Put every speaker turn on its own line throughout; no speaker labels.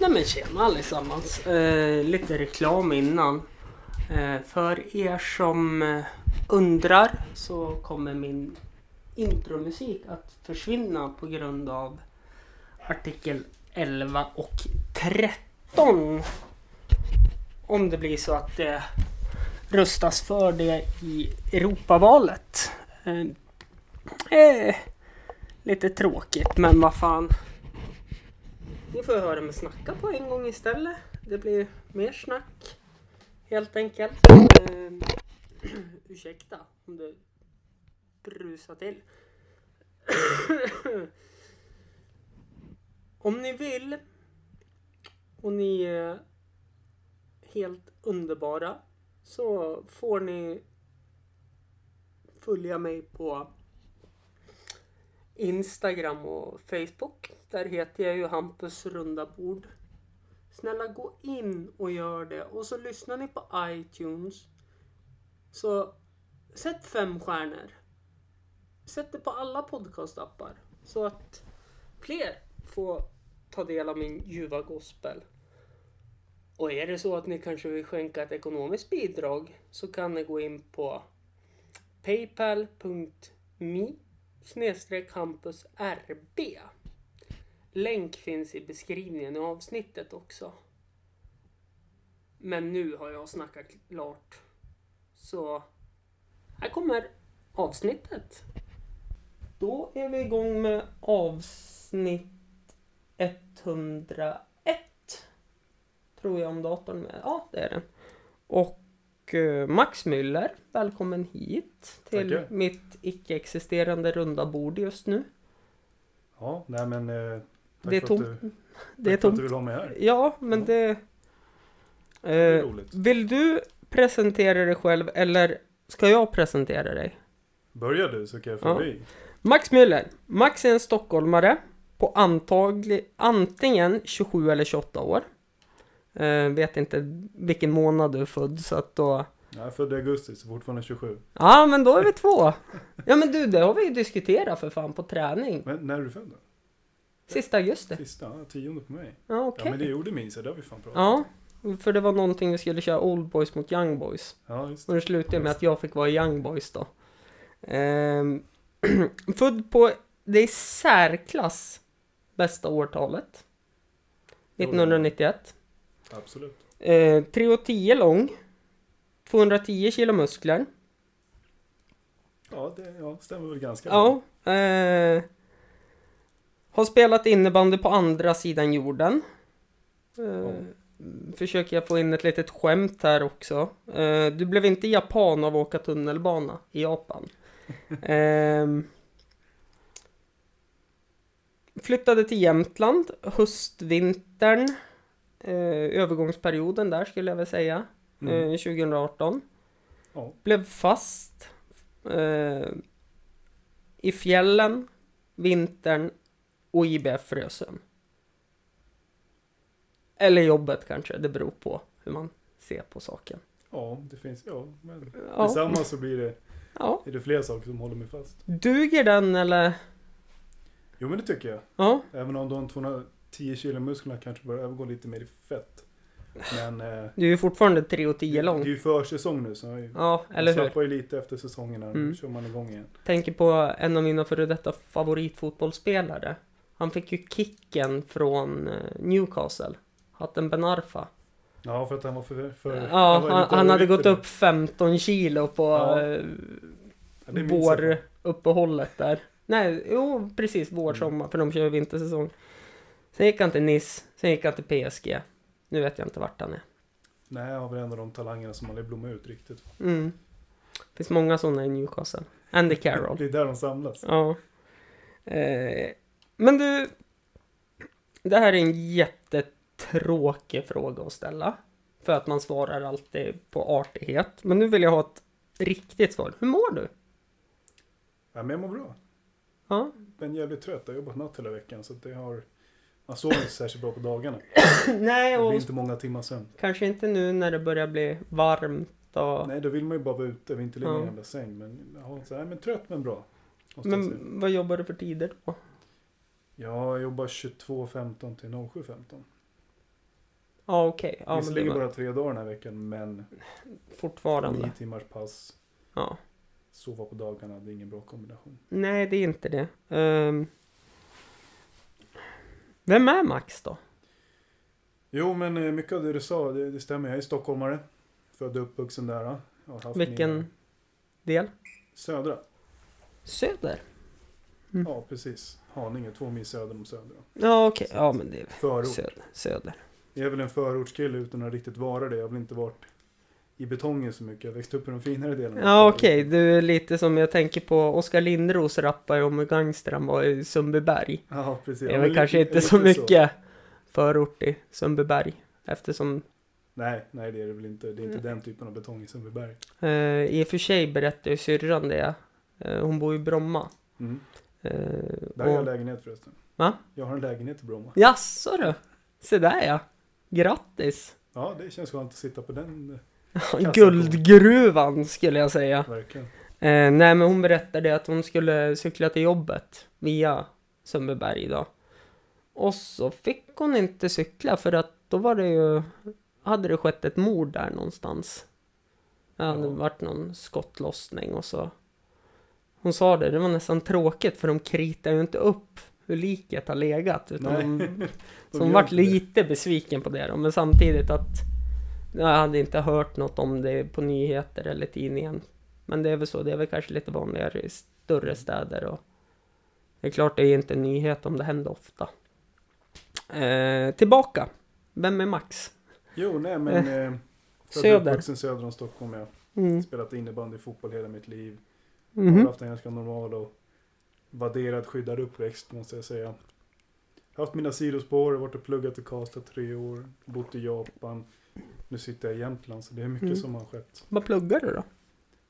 Nej men tjena allesammans. Eh, lite reklam innan. Eh, för er som eh, undrar så kommer min intromusik att försvinna på grund av artikel 11 och 13. Om det blir så att det röstas för det i Europavalet. Eh, eh, lite tråkigt men vad fan. Ni får höra mig snacka på en gång istället. Det blir mer snack. Helt enkelt. Eh, ursäkta om du brusar till. om ni vill och ni är helt underbara så får ni följa mig på Instagram och Facebook. Där heter jag ju Hampus runda bord. Snälla gå in och gör det. Och så lyssnar ni på iTunes. Så sätt fem stjärnor. Sätt det på alla podcastappar. Så att fler får ta del av min ljuva gospel. Och är det så att ni kanske vill skänka ett ekonomiskt bidrag så kan ni gå in på paypal.me snedstreck Hampus RB. Länk finns i beskrivningen i avsnittet också. Men nu har jag snackat klart. Så här kommer avsnittet. Då är vi igång med avsnitt 101. Tror jag om datorn med. Ja, det är den. Och eh, Max Müller, välkommen hit till
Tackar.
mitt icke-existerande runda bord just nu.
Ja, nej men... eh, Tack
Det är
för
tomt.
Att du,
Det är
tack för
tomt.
att
Eh,
du vill ha mig här.
Ja, men
Ja.
det...
är
Eh,
roligt.
vill du presentera dig själv eller ska jag presentera dig?
Börjar du så kan jag
Ja.
förbi.
Max Müller. Max är en stockholmare på antagli, antingen 27 eller 28 år. Eh, vet inte vilken månad du är född så att då...
Jag är född i augusti så fortfarande 27.
Ja men då är vi två! Ja men du det har vi ju diskuterat för fan på träning.
Men när är du född då?
Sista augusti.
Sista? ja, Tionde på mig.
Ja
Ja
okej.
men det gjorde min så det har vi fan pratat
Ja. För det var någonting vi skulle köra Old Boys mot Young Boys.
Ja, just
Och
det.
det slutade med att jag fick vara Young Boys då. Ehm, född på det i särklass bästa årtalet. 1991.
Absolut.
Eh, 3,10 lång. 210 kilo muskler.
Ja, det ja, stämmer väl ganska
Ja. Eh, har spelat innebandy på andra sidan jorden. Eh, Försöker jag få in ett litet skämt här också. Eh, du blev inte japan av att åka tunnelbana i Japan. Ehm, flyttade till Jämtland höstvintern. Eh, övergångsperioden där skulle jag väl säga.
Mm.
Eh, 2018.
Ja.
Blev fast eh, i fjällen, vintern och IBF Rösön. Eller jobbet kanske, det beror på hur man ser på saken.
Ja, det finns. Ja, men
Ja.
tillsammans så blir det,
ja.
är det fler saker som håller mig fast.
Duger den eller?
Jo men det tycker jag.
Ja,
Även om de 210 kilo musklerna kanske börjar övergå lite mer i fett. Men eh,
du är ju fortfarande 3 och
det
10
är
lång.
ju försäsong nu så
Ja, eller
man
hur?
slappar ju lite efter säsongen här.
Mm.
Nu kör man igång igen.
Tänker på en av mina före detta favoritfotbollsspelare. Han fick ju kicken från eh, Newcastle. Hatten Ben Arfa.
Ja, för att han var för... för
Ja,
var
han,
lite
han hade
överviktig
gått
då.
upp 15 kilo på
Ja.
eh,
Ja, det minns jag.
våruppehållet där. Nej, jo precis vår,
Mm.
sommar, för de kör ju vintersäsong. Sen gick han till Nice, sen gick han till PSG. Nu vet jag inte vart han är.
Nej, han var väl en av de talangerna som aldrig blommade ut riktigt.
Mm. Finns många sådana i Newcastle. Andy Carroll.
Det är där de samlas.
Ja. Eh, men du. Det här är en jättetråkig fråga att ställa. För att man svarar alltid på artighet. Men nu vill jag ha ett riktigt svar. Hur mår du?
Ja, men jag mår bra.
Ja.
Men jag är jävligt trött. Jag har jobbat natt hela veckan så att det har... Man sover inte särskilt bra på dagarna.
Nej,
Det blir
och
inte många timmar sömn.
kanske inte nu när det börjar bli varmt och...
Nej, då vill man ju bara vara ute och inte ligga i
Ja.
en jävla säng. Men, ja, så här, men trött men bra. måste jag säga.
Men vad jobbar du för tider då?
Ja, jag jobbar 22.15 till 07.15.
Ja, okej. Ja, men det
Visserligen
var
bara tre dagar den här veckan men nio
fortfarande.
timmars pass,
Ja.
sova på dagarna, det är ingen bra kombination.
Nej, det är inte det. Ehm. Vem är Max då?
Jo men eh, mycket av det du sa, det, det stämmer. Jag är stockholmare. Född och uppvuxen där. ja. Jag har haft
Vilken
min-
del?
Södra.
Söder?
Ja precis. Haninge, två mil söder om Södra.
Ja, okej. Ja, men det är
Förort.
söder. söder.
Jag är väl en förortskille utan att riktigt vara det. Jag har väl inte varit i betongen så mycket. Jag växte upp i de finare delarna.
Ja, okej. Du är lite som jag tänker på Oskar Lindros rappar om hur gangster han var i Sundbyberg.
Ja precis.
Det
Ja,
är
men
väl kanske
lite-
inte så
lite
mycket förort i Sundbyberg. Eftersom
Nej, nej det är det väl inte. Det är
Mm.
inte den typen av betong i Sundbyberg.
eh, i och för sig berättar ju syrran det. Eh, hon bor i Bromma.
Mm. Där har
Eh,
jag
och...
lägenhet förresten.
Va?
Jag har en lägenhet i Bromma.
Jaså du? Se där ja. Grattis.
Ja, det känns skönt att sitta på den. eh, Kassako.
Guldgruvan skulle jag säga.
Verkligen.
Eh, nej, men hon berättade att hon skulle cykla till jobbet via Sundbyberg idag. Och så fick hon inte cykla för att då var det ju, hade det skett ett mord där någonstans. Det hade
Ja.
varit någon skottlossning och så. Hon sa det, det var nästan tråkigt för de kritar ju inte upp hur liket har legat. Utan
Nej.
de,
De
så hon
gör
vart
inte det.
lite besviken på det då, men samtidigt att jag hade inte hört något om det på nyheter eller tidningen. Men det är väl så, det är väl kanske lite vanligare i större städer och det är klart det är inte en nyhet om det händer ofta. Eh, tillbaka! Vem är Max?
Jo, nej men. Eh,
Söder.
Vuxen söder om Stockholm. Jag
Mm.
spelat innebandy och fotboll hela mitt liv. Har
Mhm.
haft en ganska normal och vadderad skyddad uppväxt måste jag säga. Haft mina sidospår, varit och pluggat i Karlstad tre år, bott i Japan. Nu sitter jag i Jämtland så det är mycket
Mm.
som har skett.
Vad pluggar du då?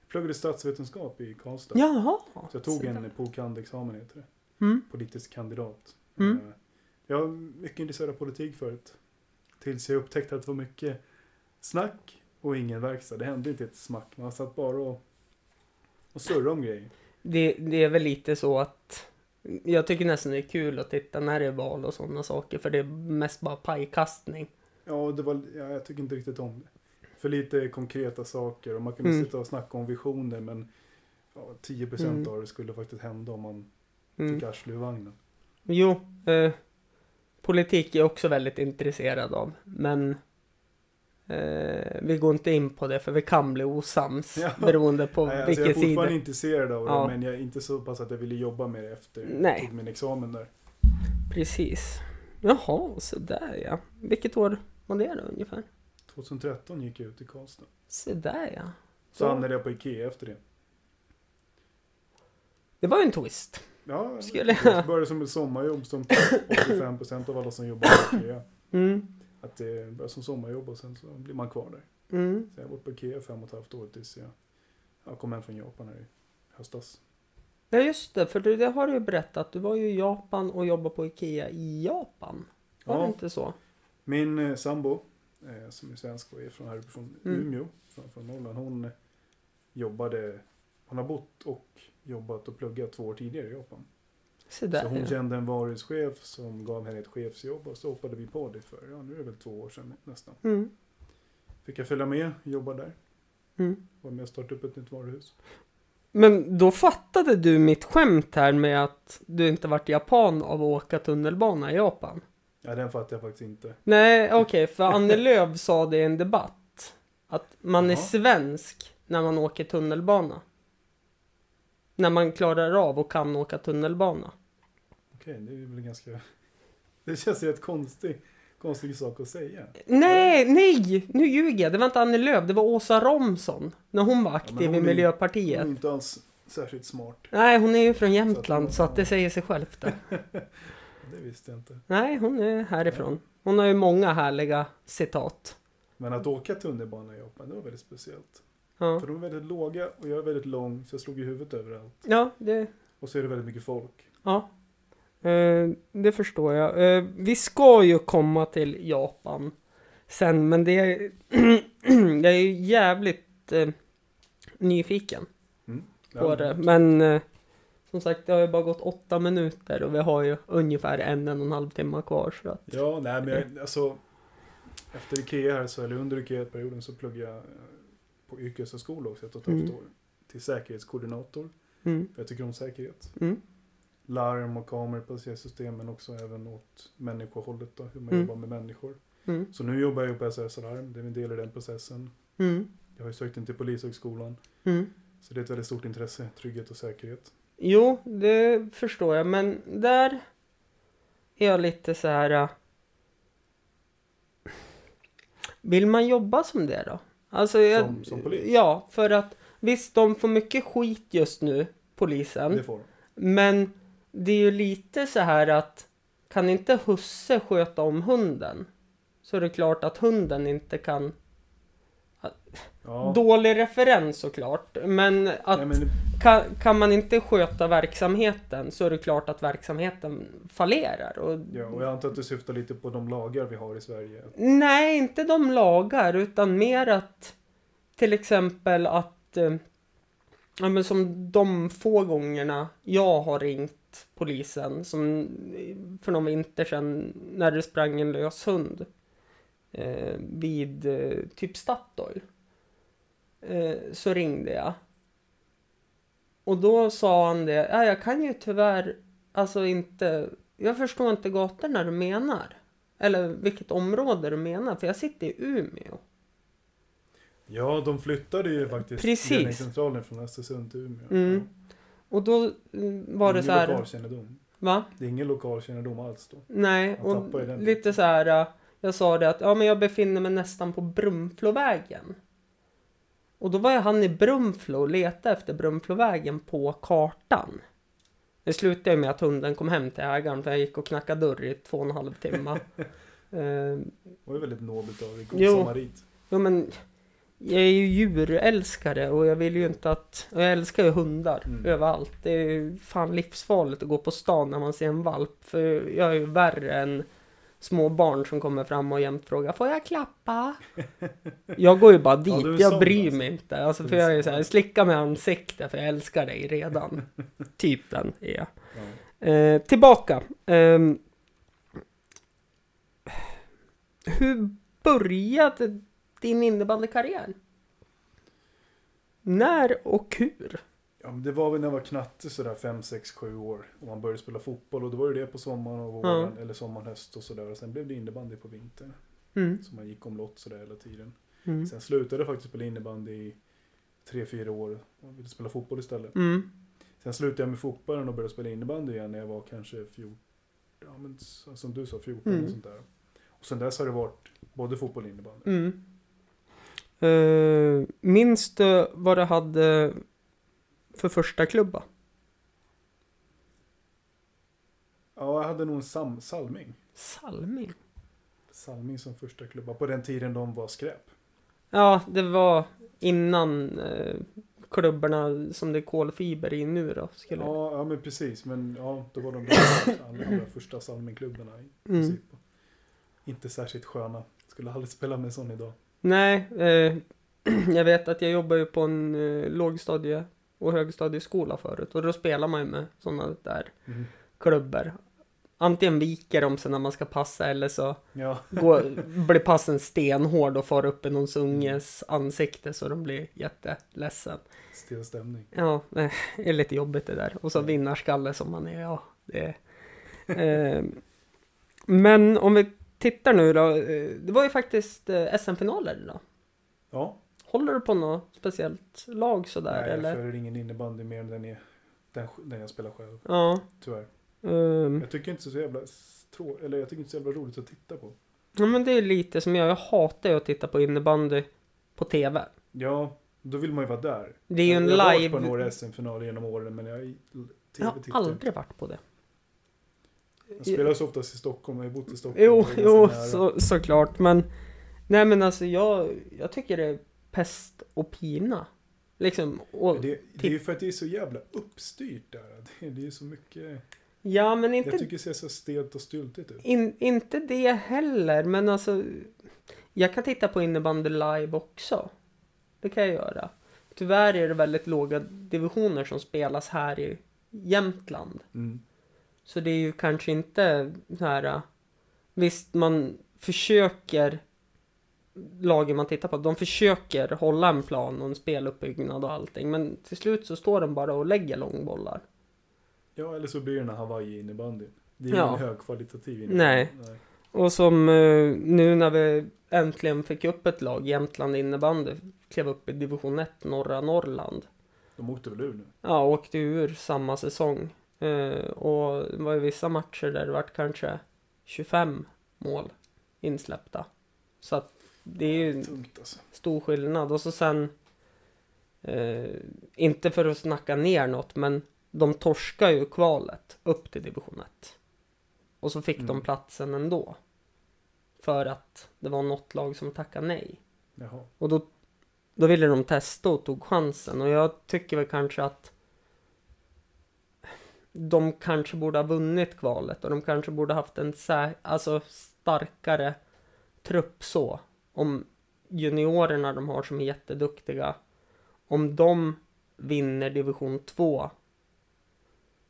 Jag pluggade statsvetenskap i Karlstad.
Jaha!
Så jag tog en POU-kand-examen heter det.
Mm.
Politisk kandidat.
Mm.
Eh, Jag var mycket intresserad av politik förut. Tills jag upptäckte att det var mycket snack och ingen verkstad. Det hände inte ett smack. Man satt bara och, och surrade om grejer.
Det, det är väl lite så att jag tycker nästan det är kul att titta när det är val och sådana saker för det är mest bara pajkastning.
Ja, det var, ja, jag tycker inte riktigt om det. För lite konkreta saker och man kunde
Mm.
sitta och snacka om visioner men ja, 10%
Mm.
av det skulle faktiskt hända om man
Mm.
fick arsle ur vagnen.
Jo, eh, politik är jag också väldigt intresserad av, men eh, vi går inte in på det för vi kan bli osams
Ja.
beroende på
Nej, alltså jag är
vilken
fortfarande
sida.
intresserad av det
Ja.
men jag är inte så pass att jag ville jobba med det efter jag
Nej.
tog min examen där.
Precis. Jaha, sådär ja. Vilket år var det då ungefär?
2013 gick jag ut i Karlstad.
Sådär ja.
Så
Ja.
hamnade jag på Ikea efter det.
Det var ju en twist.
Ja,
Skulle jag-
det började som ett sommarjobb som 85% av alla som jobbar på Ikea.
Mm.
Att det börjar som sommarjobb och sen så blir man kvar där.
Mm.
Så jag har varit på Ikea fem och ett halvt år tills jag, jag kom hem från Japan här i höstas.
Ja just det, för du, det har du ju berättat. Du var ju i Japan och jobbade på Ikea i Japan. Var
Ja.
det inte så?
Min eh, sambo, eh, som är svensk och är från här från
Mm.
Umeå, från, från Norrland, hon jobbade, hon har bott och jobbat och pluggat två år tidigare i Japan.
Sådär
så hon
ja.
kände en varuhuschef som gav henne ett chefsjobb och så hoppade vi på det för, ja nu är det väl två år sedan nästan.
Mm.
Fick jag följa med, jobba där,
Mm.
var med och startade upp ett nytt varuhus.
Men då fattade du mitt skämt här med att du inte varit japan av att åka tunnelbana i Japan?
Ja, den fattar jag faktiskt inte.
Nej, okej, för Annie Lööf sa det i en debatt. Att man är
Jaha.
svensk när man åker tunnelbana. När man klarar av och kan åka tunnelbana.
Okej, det är väl ganska... Det känns ju ett konstig, konstig sak att säga.
Nej, nej, nu ljuger jag. Det var inte Annie Lööf, det var Åsa Romson. När hon var
men
aktiv
hon
i
är-
Miljöpartiet.
Det är inte alls särskilt smart.
Nej, hon är ju från
att
Jämtland
hon-
så att det säger sig självt det.
Det visste jag inte.
Nej, hon är härifrån. Hon har ju många härliga citat.
Men att åka tunnelbana i Japan, det var väldigt speciellt.
Ja,
För de är väldigt låga och jag är väldigt lång så jag slog i huvudet överallt.
ja det,
Och så är det väldigt mycket folk.
ja. Eh, det förstår jag. Eh, vi ska ju komma till Japan sen, men det är, jag är ju jävligt eh, nyfiken på
Ja,
det. Men eh, som sagt, det har ju bara gått åtta minuter och vi har ju ungefär en, en och en halv timme kvar. Så att,
Ja, nej men jag, alltså. Efter Ikea här så, eller under Ikea-perioden så pluggade jag eh, på yrkeshögskola också ett och ett halvt
Mm.
år. Till säkerhetskoordinator.
Mm.
För jag tycker om säkerhet.
Mm.
Larm och kameror på systemen men också även åt människohållet då, hur man
Mm.
jobbar med människor.
Mm.
Så nu jobbar jag på SRS Alarm, det är en del i den processen.
Mm.
Jag har ju sökt in till Polishögskolan.
Mm.
Så det är ett väldigt stort intresse, trygghet och säkerhet.
Jo, det förstår jag, men där är jag lite så här... äh, Vill man jobba som det då? Alltså, jag,
Som- som polis?
Ja, för att visst, de får mycket skit just nu, polisen.
Det får de.
Men det är ju lite så här att kan inte husse sköta om hunden så är det klart att hunden inte kan...
Ja.
Dålig referens såklart, men att
Nej, men det-
kan, kan man inte sköta verksamheten så är det klart att verksamheten fallerar. Och,
Ja, och jag antar att du syftar lite på de lagar vi har i Sverige.
Nej, inte de lagar utan mer att till exempel att eh, ja, men som de få gångerna jag har ringt polisen som eh, för någon vinter sedan när det sprang en lös hund eh, vid eh, typ Statoil. Eh, så ringde jag. Och då sa han det, ja, jag kan ju tyvärr alltså inte, jag förstår inte gatorna du menar. Eller vilket område du menar, för jag sitter i Umeå.
Ja, de flyttade ju faktiskt
Precis.
ledningscentralen från Östersund till Umeå.
Mm. Och då mm, var det
ingen
så här,
lokalkännedom.
va?
Det är ingen lokalkännedom alls då.
Nej,
Man
och
tappar ju den
lite
biten.
så här, äh, jag sa det att ja, men jag befinner mig nästan på Brunflovägen. Och då var ju han i Brunflo och letade efter Brunflovägen på kartan. Det slutade ju med att hunden kom hem till ägaren för jag gick och knackade dörr i två och en halv timme. eh,
Det var ju väldigt nobelt av dig.
Jo.
God samarit.
Ja men jag är ju djurälskare och jag vill ju inte att... och Jag älskar ju hundar
Mm.
överallt. Det är ju fan livsfarligt att gå på stan när man ser en valp. För jag är ju värre än små barn som kommer fram och jämt frågar Får jag klappa? jag går ju bara dit.
du är
jag
sån
bryr
alltså.
mig inte. Alltså,
Du
för
är
jag är ju
sån.
såhär, slicka mig i ansiktet för jag älskar dig redan. typ den är jag.
Ja.
Eh, tillbaka. Ehm. hur började din innebandykarriär? När och hur?
Ja, men det var väl när jag var knatte sådär 5, 6, 7 år. Och man började spela fotboll och då var det det på sommaren och våren.
Mm.
Eller sommaren, höst och sådär. Och sen blev det innebandy på vintern.
Mm.
Så man gick omlott sådär hela tiden.
Mm.
Sen slutade jag faktiskt spela innebandy i 3-4 år. Och ville spela fotboll istället.
Mm.
Sen slutade jag med fotbollen och började spela innebandy igen när jag var kanske 14, ja, men, s- som du sa, 14
Mm.
och sånt där. Och sen dess har det varit både fotboll och innebandy.
Mm. Eh, minns du vad du hade för första klubba?
Ja, jag hade nog en sam- Salming.
Salming?
Salming som första klubba på den tiden de var skräp.
Ja, det var innan eh, klubborna som det är kolfiber i nu då. Skulle...
Ja, ja, men precis. Men ja, då var de de allra, allra första Salmingklubbarna i
Mm.
princip. Inte särskilt sköna. Skulle aldrig spela med en sån idag.
Nej, eh, jag vet att jag jobbar ju på en eh, lågstadie och högstadieskola förut och då spelar man ju med sådana där
Mm.
klubbor. Antingen viker de sig när man ska passa eller så
Ja,
går, blir passen stenhård och far upp i någons unges ansikte så de blir jätteledsen.
stel stämning.
Ja, eh, det är lite jobbigt det där. Och så
Mm.
vinnarskalle som man är, ja. Det är. Eh, men om vi tittar nu då. eh, Det var ju faktiskt eh, SM-finaler idag.
Ja,
Håller du på något speciellt lag sådär
nej, jag
eller?
följer ingen innebandy mer än den, är, den, den jag spelar själv.
Ja.
Tyvärr.
ehm.
Jag tycker inte så jävla strå, eller jag tycker inte så jävla roligt att titta på.
ja men det är lite som jag, jag hatar ju att titta på innebandy på TV.
Ja, då vill man ju vara där.
Det är ju en
jag har varit
live...
på några SM-finaler genom åren men jag
jag har
tv-tittar.
aldrig varit på det.
Jag spelar så oftast i Stockholm, jag har ju bott i Stockholm.
Jo,
Det är
jo
ganska nära.
så, såklart men... Nej men alltså jag, jag tycker det är pest och pina. Liksom, och,
Det, det är ju för att det är så jävla uppstyrt där. Det, det är så mycket.
ja men inte
Jag tycker det ser så stelt och styltigt ut.
In, inte det heller, men alltså... Jag kan titta på innebandy live också. Det kan jag göra. Tyvärr är det väldigt låga divisioner som spelas här i Jämtland.
Mm.
Så det är ju kanske inte så här... äh, Visst, man försöker lagen man tittar på, de försöker hålla en plan och en speluppbyggnad och allting. Men till slut så står de bara och lägger långbollar.
Ja, eller så blir det den här Hawaii-innebandyn. Det är
Ja.
ingen högkvalitativ
Nej.
Nej.
Och som eh, nu när vi äntligen fick upp ett lag, Jämtland innebandy, klev upp i division 1, norra Norrland.
De åkte väl ur nu?
Ja, åkte ur samma säsong. Eh, och det var ju vissa matcher där det vart kanske 25 mål insläppta. Så att det är ju
Tungt alltså.
stor skillnad. Och så sen, eh, inte för att snacka ner något, men de torskar ju kvalet upp till division 1. Och så fick de
Mm.
platsen ändå. För att det var något lag som tackade nej.
Jaha.
Och då, då ville de testa och tog chansen. Och jag tycker väl kanske att de kanske borde ha vunnit kvalet och de kanske borde haft en sä- alltså starkare trupp så. Om juniorerna de har som är jätteduktiga, om de vinner division 2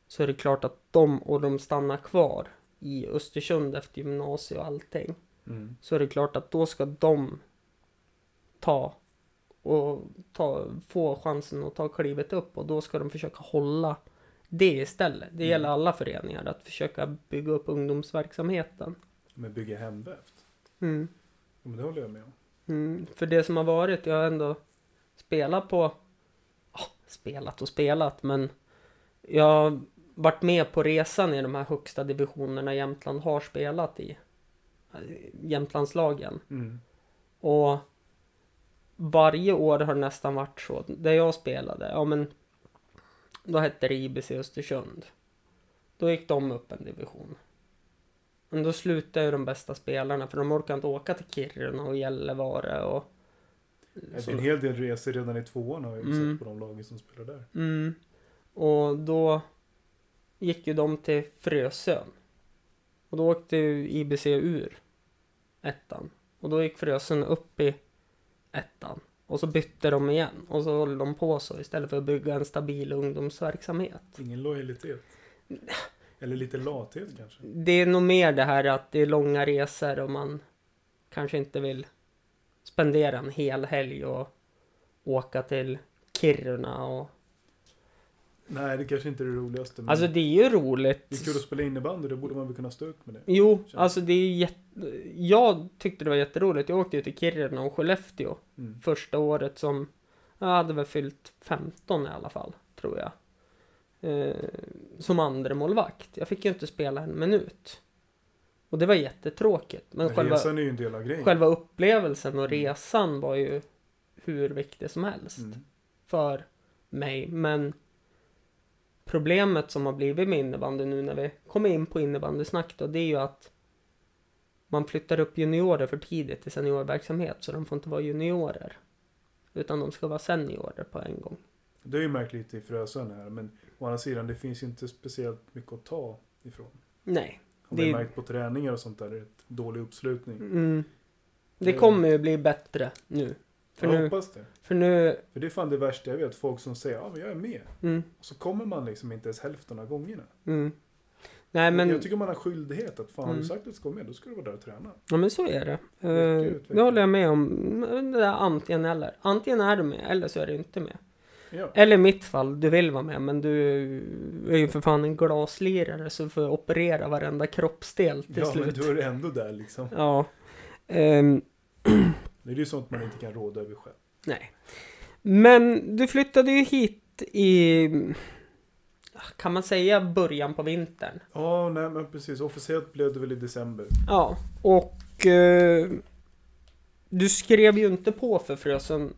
så är det klart att de och de stannar kvar i Östersund efter gymnasiet och allting
Mm.
så är det klart att då ska de ta och ta, få chansen att ta klivet upp och då ska de försöka hålla det istället. Det
Mm.
gäller alla föreningar att försöka bygga upp ungdomsverksamheten.
Men bygga hemvävt?
Mm.
Ja, men det håller jag med om.
Mm. För det som har varit, jag har ändå spelat på, ja, spelat och spelat men jag har varit med på resan i de här högsta divisionerna Jämtland har spelat i. eh, Jämtlandslagen.
Mm.
Och varje år har det nästan varit så. Där jag spelade, ja men då hette det IBC Östersund. Då gick de upp en division. Men då slutade ju de bästa spelarna för de orkade inte åka till Kiruna och Gällivare och...
Det är en hel del resor redan i tvåan har jag ju
Mm.
sett på de lagen som spelar där.
Mm. Och då gick ju de till Frösön. Och då åkte ju IBC ur ettan. Och då gick Frösön upp i ettan. Och så bytte de igen. Och så håller de på så istället för att bygga en stabil ungdomsverksamhet.
Ingen lojalitet. Eller lite lathet kanske.
Det är nog mer det här att det är långa resor och man kanske inte vill spendera en hel helg och åka till Kiruna och...
Nej, det kanske inte är det roligaste. Men
Alltså det är ju roligt.
Mm. det är kul att spela innebandy, då borde man väl kunna stå ut med det.
Jo,
Känns-
alltså det är jätte... Jag tyckte det var jätteroligt. Jag åkte ju till Kiruna och Skellefteå
Mm.
första året som... Jag hade väl fyllt 15 i alla fall, tror jag. Eh, som andra målvakt. Jag fick ju inte spela en minut. Och det var jättetråkigt. Men
Men
själva,
Resan är ju en del av grejen.
själva upplevelsen och
Mm.
resan var ju hur viktig som helst
Mm.
för mig. Men problemet som har blivit med innebandy nu när vi kommer in på innebandysnack då, det är ju att man flyttar upp juniorer för tidigt till seniorverksamhet så de får inte vara juniorer. Utan de ska vara seniorer på en gång.
Det är ju märkt lite i Frösön här, men å andra sidan, det finns ju inte speciellt mycket att ta ifrån.
Nej.
Har vi
Det-
märkt på träningar och sånt där, det är ett dålig uppslutning.
Mm. Det
Mm.
kommer ju bli bättre nu. För
jag
nu,
hoppas det.
för nu,
För det är fan det värsta jag vet, folk som säger ja men jag är med.
mm,
Och så kommer man liksom inte ens hälften av gångerna.
mm. Nej men,
Jag tycker man har skyldighet att fan har du
Mm.
sagt att du ska vara med, då ska du vara där och träna.
ja, men så är det.
Mycket
Eh,
utveckling.
Det håller jag med om. Det där antingen eller. Antingen är du med eller så är du inte med.
Ja.
Eller i mitt fall, du vill vara med men du är ju för fan en glaslirare så du får operera varenda kroppsdel till
Ja, men
slut.
då är det ändå där liksom.
Ja. Ehm,
Det är ju sånt man inte kan råda över själv.
nej. Men du flyttade ju hit i, kan man säga början på vintern?
Ja, nej men precis. Officiellt blev det väl i december.
Ja, och eh, du skrev ju inte på för Frösön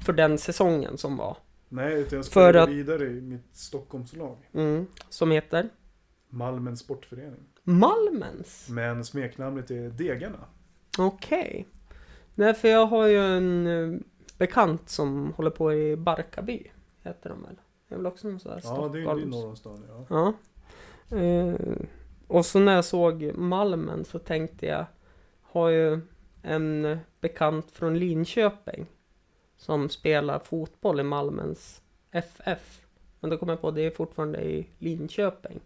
för den säsongen som var.
Nej, utan jag
För
spelade
att-
vidare i mitt Stockholmslag.
Mm, som heter?
Malmens sportförening.
Malmens.
Men smeknamnet är Degarna.
Okej. Nej, för jag har ju en eh, bekant som håller på i Barkarby. Heter de väl? Det är väl också någon sån där
Ja, det är ju det är norr om stan. Ja.
Ja. Eh, och så när jag såg Malmen så tänkte jag, har ju en bekant från Linköping som spelar fotboll i Malmens FF. Men då kom jag på att det är fortfarande i Linköping.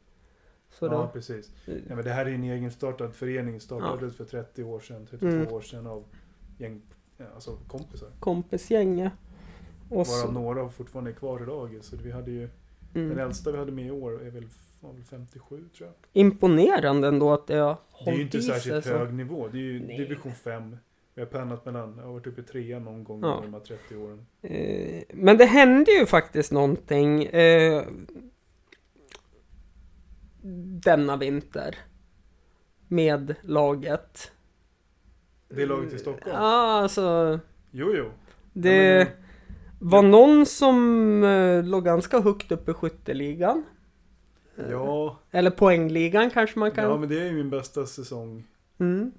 Så
ja,
då,
precis. Ja, men det här är en egenstartad förening. Startades för 30 år sedan, 32
Mm.
år sedan av gäng, ja, alltså kompisar.
kompisgäng ja. Och
Varav
så,
några fortfarande är kvar idag. Så vi hade ju, den
mm.
äldsta vi hade med i år är väl, var väl 57 tror jag.
Imponerande ändå att det har
Det är ju
hållit
inte
i sig
särskilt
så.
hög nivå. Det är ju
alltså. Nej.
division 5. Vi har pennat mellan, jag har varit uppe i trean någon gång
Ja.
under de här 30 åren.
Eh, Men det hände ju faktiskt någonting eh, denna vinter med laget.
Det är laget i Stockholm?
Ja, alltså
Jo, jo.
det
Ja, men
var någon som eh, låg ganska högt upp i skytteligan. Eh,
Ja,
Eller poängligan kanske man kan...
ja, men det är ju min bästa säsong
Mm.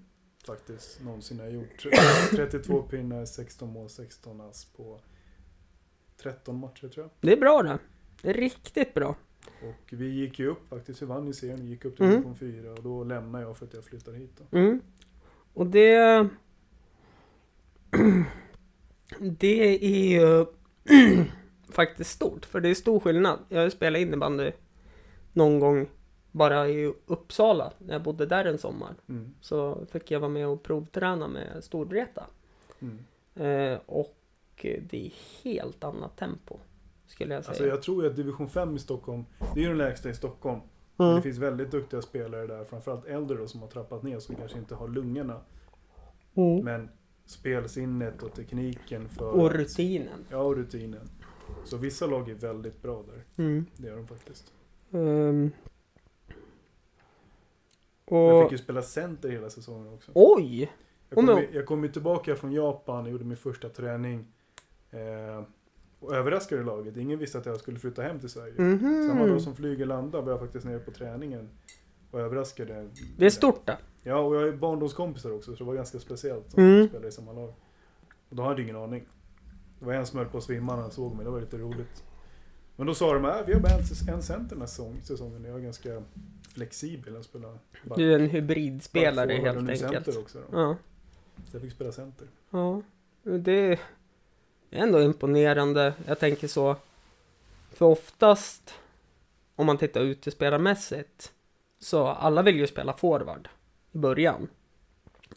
faktiskt någonsin jag har gjort. 32 pinnar, 16 mål, 16 ass på 13 matcher tror
Det är bra det. Det är riktigt bra.
jag. Och vi gick ju upp faktiskt, vi vann ju serien, vi gick upp till
Mm.
division 4 och då lämnade jag för att jag flyttade hit då.
Mm. Och det... Det är ju faktiskt stort, för det är stor skillnad. Jag har ju spelat innebandy någon gång bara i Uppsala, när jag bodde där en sommar.
Mm.
Så fick jag vara med och provträna med Storvreta.
Mm.
Eh, och det är helt annat tempo, skulle jag säga.
Alltså jag tror ju att division 5 i Stockholm, det är ju den lägsta i Stockholm. Men
Mm.
Det finns väldigt duktiga spelare där, framförallt äldre då, som har trappat ner, som kanske inte har lungorna.
Mm.
Men spelsinnet och tekniken för...
Och rutinen.
Ja, och rutinen. Så vissa lag är väldigt bra där.
Mm.
Det är de faktiskt.
Ehm.
Jag
Och...
fick ju spela center hela säsongen också.
Oj!
Jag kom,
men-
ju- jag kom ju tillbaka från Japan och gjorde min första träning. Eh, och överraskade laget. Ingen visste att jag skulle flytta hem till Sverige.
Mhm.
Samma dag som flyger landade var jag faktiskt nere på träningen. Och överraskade.
Det är stort det.
Ja, och jag är barndomskompisar också så det var ganska speciellt som
Mm.
spelade i samma lag. Och då hade jag ingen aning. Det var en som höll på att svimma när han såg mig, det var lite roligt. Men då sa de att vi har bara en, en center den här säsong, säsongen, jag är ganska flexibel. Jag spelar back-
Du är en hybridspelare
back forward och
helt
nu
enkelt.
Center också då.
Ja.
Så jag fick spela center.
ja. Det är ändå imponerande. Jag tänker så. För oftast, om man tittar utespelarmässigt, så alla vill ju spela forward i början.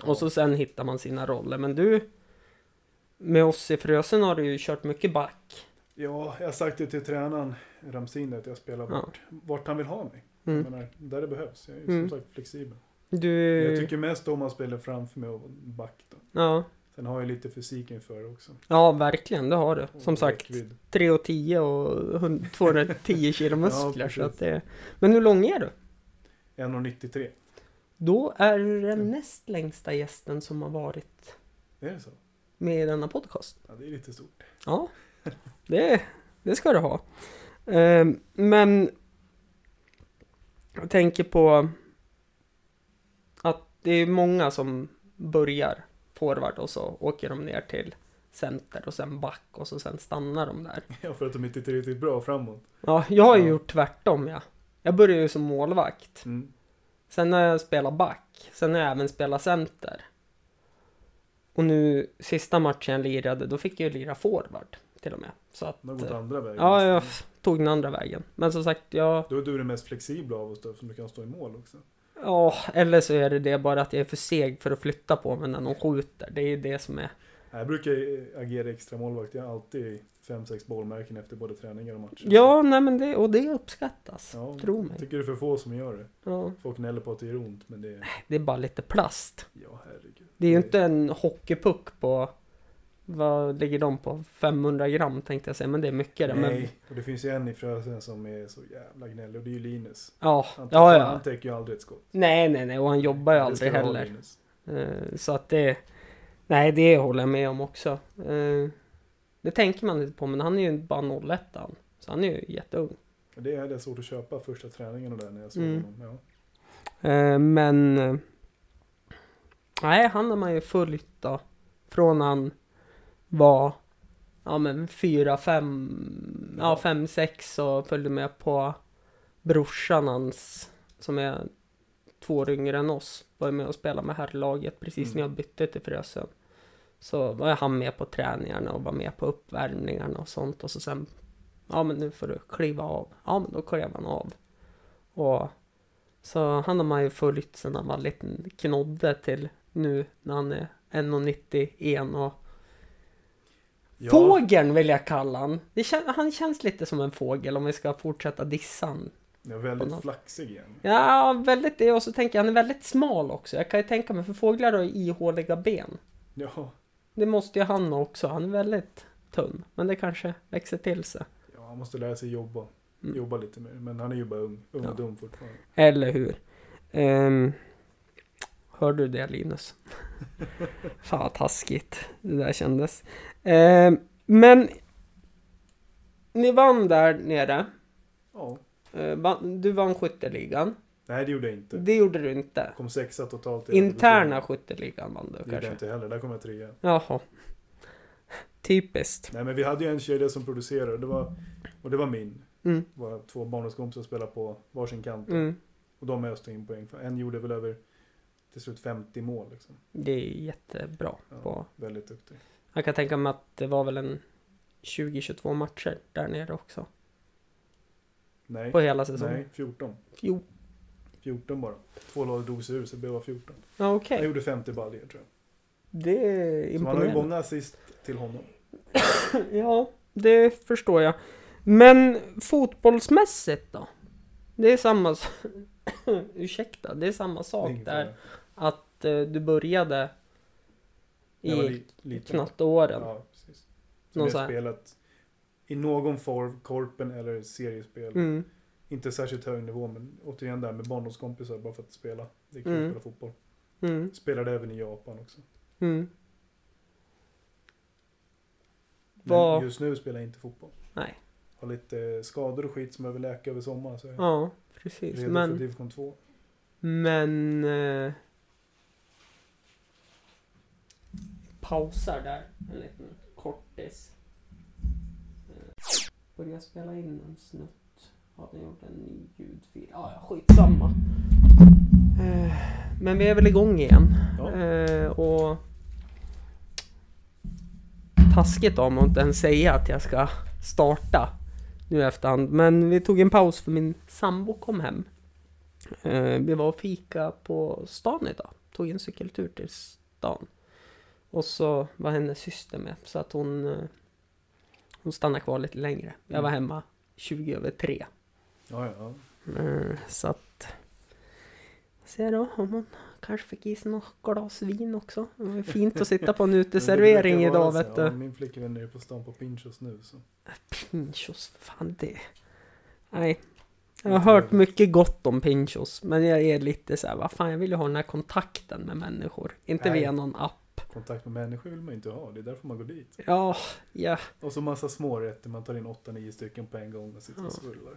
Och så sen hittar man sina roller. Men du, med oss i Frösen har du ju kört mycket back.
Ja, jag har sagt det till tränaren Ramsin att jag spelar
Ja.
vart, vart han vill ha mig.
Mm.
Jag menar, där det behövs. Jag är ju
Mm. Eh.
som sagt flexibel. Men
Du...
Jag tycker mest om att spela framför mig och back då.
Ja.
Sen har jag lite fysiken för det också.
ja, verkligen. Det har du. Som
Och
sagt,
räckvidd.
3 och 10 och hund- 210 kilo muskler.
Ja,
så
precis.
att det... Men hur lång är du?
1,93.
Då är du den näst längsta gästen som har varit
Är det så?
med i denna podcast.
Ja, det är lite stort.
Ja, det, det ska du ha. Ehm, Men jag tänker på att det är många som börjar forward och så åker de ner till center och sen back och så sen stannar de där.
Ja, för att de inte är riktigt bra framåt.
Ja, jag har ju
Ja.
gjort tvärtom ja. Jag började ju som målvakt.
Mm.
Sen har jag spelat back. Sen har jag även spelat center. Och nu sista matchen jag lirade, då fick jag ju lira forward till och med. Så att...
De har gått
eh,
andra vägen.
Ja, jag f- tog den andra vägen. Men som sagt, jag...
Då är du den mest flexibla av oss då, som du kan stå i mål också.
Ja, eller så är det det bara att jag är för seg för att flytta på mig när någon skjuter. Det är ju det som är...
Jag brukar eh, agera extra målvakt. Jag har alltid fem sex bollmärken efter både träningar och matcher.
Ja, nej men det... Och det uppskattas.
Ja,
Tro
Jag
mig.
tycker det är för få som gör det.
Ja,
Folk gnäller på att det gör ont, men det är...
det är bara lite plast.
Ja, herregud.
Det är ju inte en hockeypuck på... Vad ligger de på? 500 gram tänkte jag säga, men det är mycket det. Men,
Nej, och det finns ju en i Frösön som är så jävla gnällig och det är ju Linus.
ja,
Han täcker,
ja, ja.
han täcker ju aldrig ett skott.
Nej, nej, nej, och han jobbar ju
Det ska
aldrig
du ha,
heller.
Linus.
Eh, Så att det... Nej, det håller jag med om också. Eh, Det tänker man inte på, men han är ju bara 01 han. Så han är ju jätteung.
Det hade jag svårt att köpa första träningen och där när jag såg
Mm.
honom. Ja.
Eh, Men... eh, Nej, han har man ju följt då. Från han var... Ja men fyra, fem... Ja,
Ja.
fem, sex och följde med på brorsan hans. Som är två år yngre än oss. Var ju med och spelade med herrlaget precis
Mm.
när jag bytte till Frösön. Så var ju han med på träningarna och var med på uppvärmningarna och sånt. Och så sen... Ja men nu får du kliva av. Ja men då klev han av. Och Så han har man ju följt sedan han var en liten knodde till nu när han är 1,91 och Fågeln vill jag kalla han. Det kän- han känns lite som en fågel om vi ska fortsätta dissa han.
Jag är
på
väldigt
något-
flaxig igen.
Ja, väldigt det. Och så tänker jag, han är väldigt smal också. Jag kan ju tänka mig, för fåglar har ju ihåliga ben.
Ja,
Det måste ju han också. Han är väldigt tunn. Men det kanske växer till sig.
ja, han måste lära sig jobba.
Mm.
Jobba lite mer. Men han är ju bara ung. Ung
Ja.
och dum fortfarande.
Eller hur? Um, hör du det Linus? Fan vad taskigt det där kändes. Ehm, men ni vann där nere.
Ja.
Eh, vann- Du vann skytteligan.
Nej, det gjorde jag inte.
Det gjorde du inte.
Kom sexa totalt. i
Interna
Örebro.
skytteligan vann
Det
du
gjorde jag
kanske?
inte heller. Där kom jag trea.
Jaha. Typiskt.
Nej men vi hade ju en kedja som producerade det var, och det var min.
Mm.
Våra två barndomskompisar spelade på varsin kant.
Mm.
Och de öste in poäng. För en gjorde väl över till slut 50 mål. Liksom.
Det är jättebra.
Ja,
På.
Väldigt duktig.
Jag kan tänka mig att det var väl en 20-22 matcher där nere också.
Nej,
På hela säsongen.
nej 14.
Jo.
14 bara. Två lag drog sig ur så det blev bara 14.
Ja, okej.
Han gjorde 50 baljor tror jag.
Det är
Så man har ju
imponerande.
många assist till honom.
Ja, det förstår jag. Men fotbollsmässigt då? Det är samma... s- Ursäkta, det är samma sak
Inget
där.
fel.
Att eh, du började
Jag var
i
li- liten.
knatteåren.
Ja, precis. Så
Någon
vi
så
har
här-
spelat i någon form, korpen eller seriespel.
Mm.
Inte särskilt hög nivå men återigen där med barndomskompisar bara för att spela. Det är kul
Mm.
att spela fotboll.
Mm.
Spelade även i Japan också.
Mm.
Men
Vad-
just nu spelar jag inte fotboll.
Nej.
Har lite eh, skador och skit som jag vill läka över sommaren så jag är
Ja, precis.
redo för
Men,
division 2.
men... Eh, pausar där en liten kortis. Eh, Börja spela in en snutt. Har den gjort en ny ljudfil? Ah, ja, skitsamma. Eh, men vi är väl igång igen.
Ja.
Eh, och... Taskigt om att inte ens säga att jag ska starta nu i efterhand. Men vi tog en paus för min sambo kom hem. Eh, vi var och fika på stan idag. Tog en cykeltur till stan. Och så var hennes syster med så att hon, eh, hon stannade kvar lite längre. Jag var
Mm.
hemma 20 över 3.
Ja, ja.
Eh, så att... Se då om hon kanske fick i sig något glas vin också. Det var ju fint att sitta på en
Men
uteservering
det brukar
idag
vara
vet
så. Ja,
du.
min flickvän är ju på stan på Pinchos nu. Så.
Pinchos, fan det... Nej. Jag har
Inte
hört
över.
mycket gott om pinchos, men jag är lite så här, vad fan, jag vill ju ha den här kontakten med människor. Inte
Nej.
via någon app.
Kontakt med människor vill man ju inte ha. Det är därför man går dit.
Ja, ja.
Och så massa smårätter. Man tar in 8-9 stycken på en gång och sitter och
Ja.
svullar.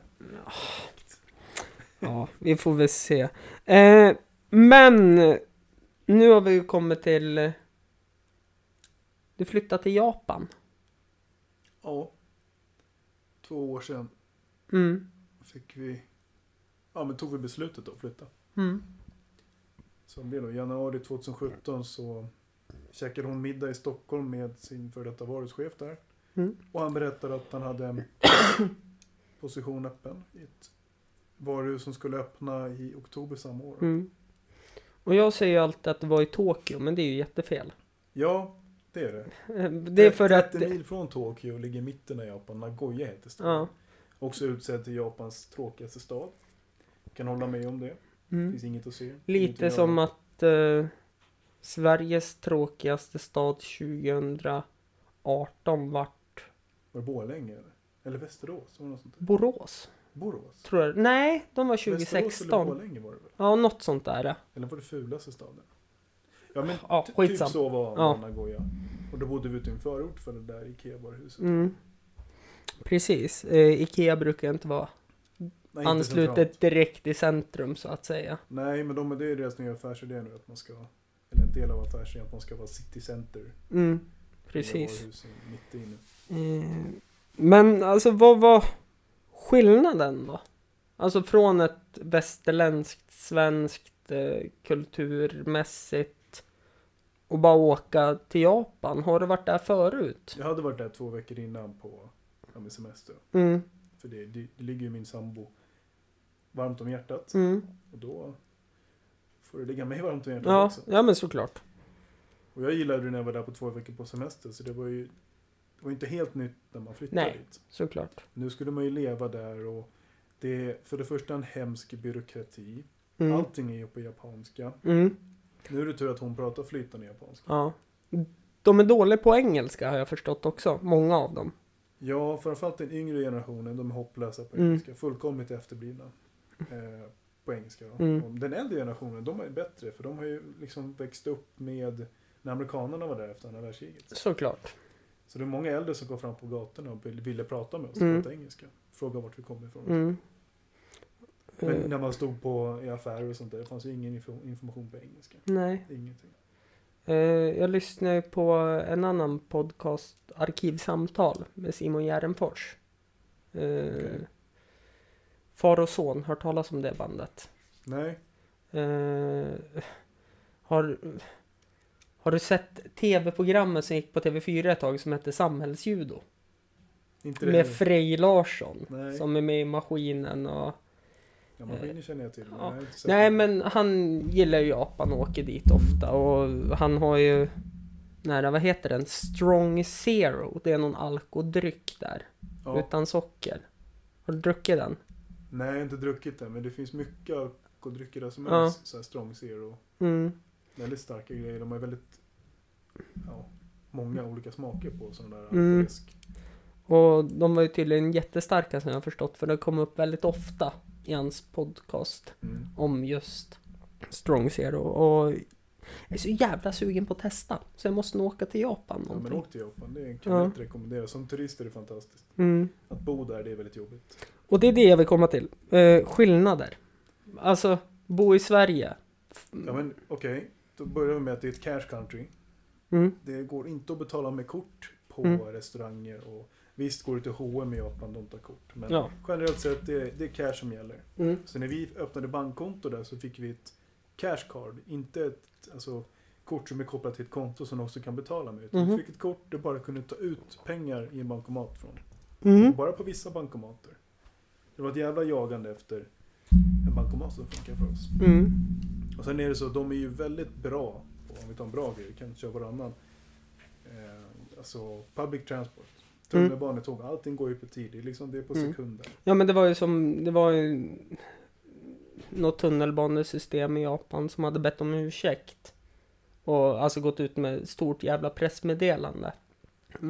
ja vi får väl se. Eh, men nu har vi ju kommit till... Du flyttade till Japan.
Ja. Två år sedan
Mm.
fick vi... Ja, men tog vi beslutet då att flytta.
Mm.
Så det blev då januari 2017 så käkade hon middag i Stockholm med sin före detta varuhuschef där.
Mm.
Och han berättade att han hade en position öppen i ett varuhus som skulle öppna i oktober samma år.
Mm. Och jag säger ju alltid att det var i Tokyo, men det är ju jättefel.
Ja, det är det.
Eh, Det är för att...
30 mil från Tokyo ligger mitten av Japan, Nagoya heter staden.
Ja.
Också utsedd till Japans tråkigaste stad. Kan hålla med om det.
Mm.
Finns inget att se. inget
Lite
att
som
göra.
att eh, Sveriges tråkigaste stad 2018 vart
Var det Borlänge eller? Eller Västerås? Var det något sånt där?
Borås.
Borås?
Tror jag. Nej, de var
Västerås eller
2016.
Borlänge var det väl?
Ja, något sånt där.
Eller var det fulaste staden? Ja men
Ja,
ty-
skitsam.
typ så var
Ja.
ja. Nagoya. Och då bodde vi ute i en förort för det där Ikea-varuhuset.
Mm. Precis. Eh, Ikea brukar inte vara
Nej, inte centralt.
anslutet direkt i centrum så att säga.
Nej men de, det är deras nya affärsidé nu att man ska, eller en del av affärsidén att man ska vara citycenter.
Mm. Precis.
Mitt inne.
Eh, Men alltså vad var skillnaden då? Alltså från ett västerländskt, svenskt, eh, kulturmässigt och bara åka till Japan. Har du varit där förut?
Jag hade varit där två veckor innan på ja, min semester.
Mm,
För det, det, det ligger ju min sambo varmt om hjärtat.
Mm.
Och då får det ligga mig varmt om hjärtat
Ja,
också.
ja, men såklart.
Och jag gillade det när jag var där på två veckor på semester så det var ju det var ju inte helt nytt när man flyttade
Nej.
dit.
Såklart.
Nu skulle man ju leva där och det är för det första en hemsk byråkrati.
Mm.
Allting är ju på japanska.
Mm.
Nu är det tur att hon pratar flytande japanska.
Ja. De är dåliga på engelska har jag förstått också, många av dem.
Ja, framförallt den yngre generationen, de är hopplösa på
Mm.
engelska. Fullkomligt efterblivna. Eh, på engelska då.
Mm.
Och Den äldre generationen, de är bättre för de har ju liksom växt upp med när amerikanerna var där efter andra världskriget.
Såklart.
Så det är många äldre som går fram på gatorna och vill- ville prata med oss och
Mm.
prata engelska. Fråga vart vi kommer ifrån.
Mm. Eh,
Men när man stod på i affärer och sånt där, det fanns ju ingen info- information på engelska.
nej.
Ingenting.
Eh, jag lyssnar ju på en annan podcast, Arkivsamtal, med Simon Järnfors. Eh,
Okej.
Far och son, hört talas om det bandet.
Nej,
Eh, har, har du sett tv-programmet som gick på TV4 ett tag som hette Samhällsjudo?
inte det
Med
heller.
Frej Larsson,
Nej.
som är med i Maskinen och...
Ja, maskiner känner jag till. Men
Ja.
jag har inte sett
Nej
det.
men han gillar ju Japan och åker dit ofta och han har ju Nära, vad heter den? Strong Zero. Det är någon alkodryck där.
Ja.
Utan socker. Har du druckit den?
Nej, jag har inte druckit det, men det finns mycket alkoholdrycker där som
Ja.
är så här strong zero.
Mm.
Väldigt starka grejer. De är väldigt ja, många olika smaker på sån där
Mm.
alkoläsk.
Och de var ju tydligen jättestarka som jag har förstått för det kom upp väldigt ofta i hans podcast
Mm.
om just Strong Zero. Och jag är så jävla sugen på att testa. Så jag måste nog åka till Japan
Ja, men
någonting.
åk till Japan, det kan
Ja.
jag inte rekommendera. Som turist är det fantastiskt.
Mm.
Att bo där, det är väldigt jobbigt.
Och det är det jag vill komma till. Eh, skillnader. Alltså, bo i Sverige.
Ja, men okej. Då börjar vi med att det är ett cash country.
Mm.
Det går inte att betala med kort på
Mm.
restauranger. Och visst går det till H&M i Japan, de tar kort. Men
Ja.
generellt sett, det är, det är cash som gäller.
Mm.
Så när vi öppnade bankkonto där så fick vi ett cash card. Inte ett alltså, kort som är kopplat till ett konto som de också kan betala med. Utan
Mhm.
Vi fick ett kort du bara kunde ta ut pengar i en bankomat från.
Mm.
Bara på vissa bankomater. Det var ett jävla jagande efter en bankomat som funkar för oss.
Mm.
Och sen är det så, de är ju väldigt bra på, om vi tar en bra grej, vi kan köra varannan. Eh, alltså public transport.
Mm.
Tunnelbanetåg, allting går ju på tid. Det är liksom det är på
Mm.
sekunder.
Ja men det var ju som, det var ju något tunnelbanesystem i Japan som hade bett om ursäkt. Och alltså gått ut med stort jävla pressmeddelande.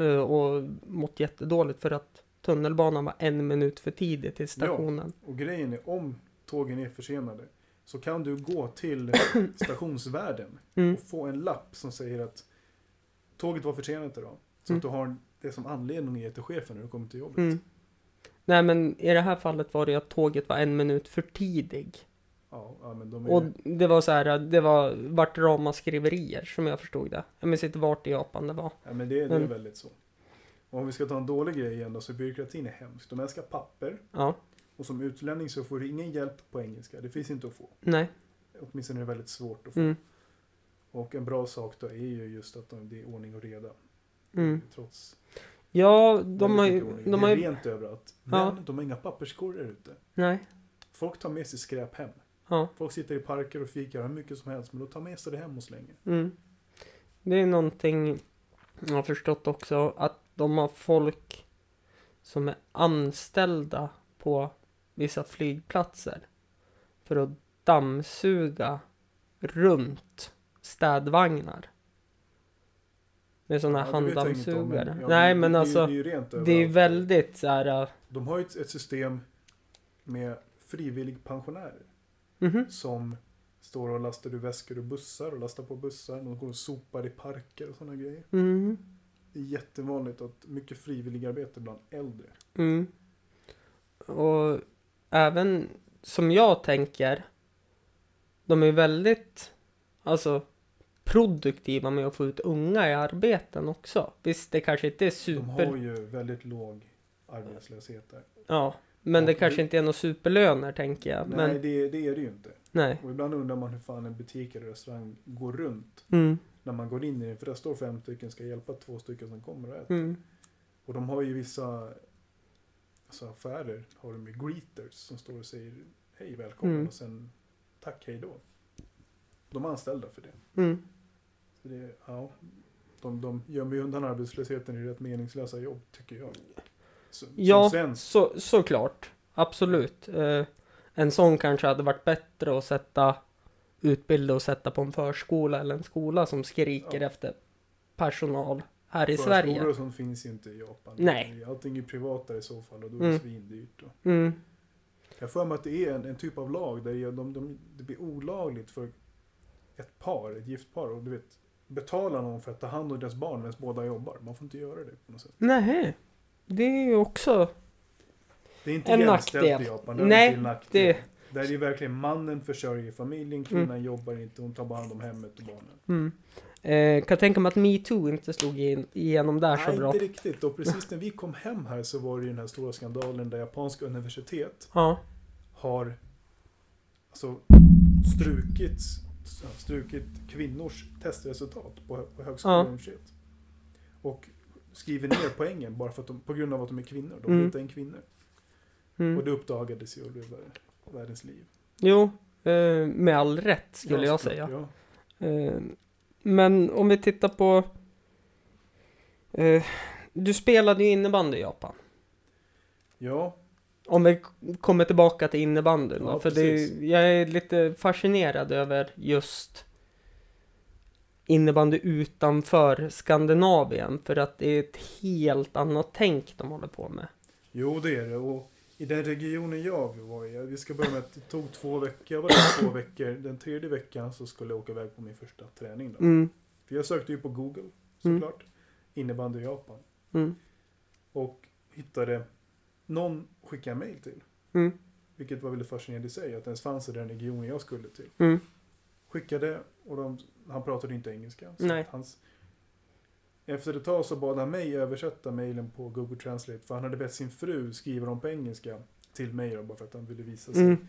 Eh, Och mått jättedåligt för att tunnelbanan var en minut för tidig till stationen.
Och grejen är om tågen är försenade så kan du gå till stationsvärden
Mm.
och få en lapp som säger att tåget var försenat idag. Så
Mm.
att du har det som anledning att ge till chefen när du kommer till jobbet.
Mm. Nej men i det här fallet var det ju att tåget var en minut för tidig.
Ja, ja, men de är,
Och det var så här, det var, vart ramasskriverier som jag förstod det. Jag minns inte vart i Japan det var.
ja, men det, det är
men-
väldigt så. Och om vi ska ta en dålig grej igen då, så byråkratin är hemsk. De älskar papper
Ja,
och som utlänning så får du ingen hjälp på engelska. Det finns inte att få.
nej.
Åtminstone är det väldigt svårt att få.
Mm.
Och en bra sak då är ju just att de, det är ordning och reda.
Mm.
Trots
Ja, de
Väldigt
har
mycket
ju...
ordning.
De
det
har
är
ju
rent överallt. Men
Ja.
de har inga papperskorgar ute.
nej.
Folk tar med sig skräp hem.
Ja.
Folk sitter i parker och fikar hur mycket som helst, men de tar med sig det hem och slänger.
Mm. Det är någonting jag har förstått också att de har folk som är anställda på vissa flygplatser för att dammsuga runt städvagnar. Med sådana här
Ja, det vet jag inget om,
handdammsugare.
men- ja,
Nej
det-
men
det, är ju-
alltså
Det är ju rent
det är ju
överallt.
väldigt så här. äh,
De har ju ett, ett system med frivillig pensionärer
mhm,
som står och lastar ur väskor och bussar och lastar på bussar. De går och sopar i parker och sådana grejer.
mhm,
Det är jättevanligt att mycket frivilligarbete bland äldre.
mm. Och även som jag tänker de är väldigt alltså, produktiva med att få ut unga i arbeten också. Visst, det kanske inte är
De har
super...
ju väldigt låg arbetslöshet där.
Ja, men det
Ja,
kanske
det-
inte är några superlöner tänker jag.
Nej,
men,
det, det är det ju inte.
nej.
Och ibland undrar man hur fan en butik eller restaurang går runt
Mm,
när man går in i den. För där står fem stycken ska hjälpa två stycken som kommer och äter.
mm,
Och de har ju vissa alltså affärer har de ju greeters som står och säger hej välkommen
Mm.
och sen tack hej då. De är anställda för det.
Mm.
Så det ja, de, de gömmer ju undan arbetslösheten i rätt meningslösa jobb tycker jag. Så,
Ja,
Som svensk.
så, såklart. Absolut. Eh, en sån kanske hade varit bättre att sätta utbilda och sätta på en förskola eller en skola som skriker
Ja.
efter personal här i
Förskolor
Sverige.
och sånt finns ju inte i Japan.
Nej.
Allting är privatare i så fall och då är det
Mm.
svindyrt. Och.
Mm.
Jag får mig att det är en, en typ av lag där de, de, de, det blir olagligt för ett par, ett gift par, och du vet betala någon för att ta hand om deras barn medan båda jobbar. Man får inte göra det på något sätt.
Nej, det är ju också...
Det är inte
En
jämställt
nackdel.
i Japan. Det är
Nej,
inte en nackdel.
det-
Där är det verkligen mannen försörjer familjen, kvinnan jobbar inte, hon tar bara hand om hemmet och barnen.
Mm. Eh, kan jag tänka mig att metoo inte slog in, igenom där så
Nej,
bra.
inte riktigt. Och precis när vi kom hem här så var det ju den här stora skandalen där japanska universitet
Ja.
har alltså, strukit, strukit kvinnors testresultat på, på högskolan
Ja.
och universitet. Och skriver ner poängen bara för att de, på grund av att de är kvinnor. De
Mm.
är inte en kvinnor.
Mm.
Och det uppdagades ju och blev världens liv.
Jo, eh, med all rätt skulle jag säga.
Ja.
Eh, Men om vi tittar på... eh, Du spelade ju innebandy i Japan.
ja,
Om vi k- kommer tillbaka till innebandyn då,
Ja,
för det, är-
precis.
jag är lite fascinerad över just innebandy utanför Skandinavien, för att det är ett helt annat tänk de håller på med.
Jo, det är det. Och i den regionen jag var i, vi ska börja med att det tog två veckor, jag var där två veckor. Den tredje veckan så skulle jag åka iväg på min första träning. Då.
Mm,
För jag sökte ju på Google,
Mm.
såklart, innebandy i Japan.
mm,
Och hittade, någon skickade jag mejl till.
mm,
Vilket var väldigt fascinerande i sig, att det ens fanns i den regionen jag skulle till.
mm.
Skickade, och de, han pratade inte engelska.
Nej.
att Hans, efter ett tag så bad han mig översätta mejlen på Google Translate. För han hade bett sin fru skriva dem på engelska till mig då, bara för att han ville visa sig.
mm.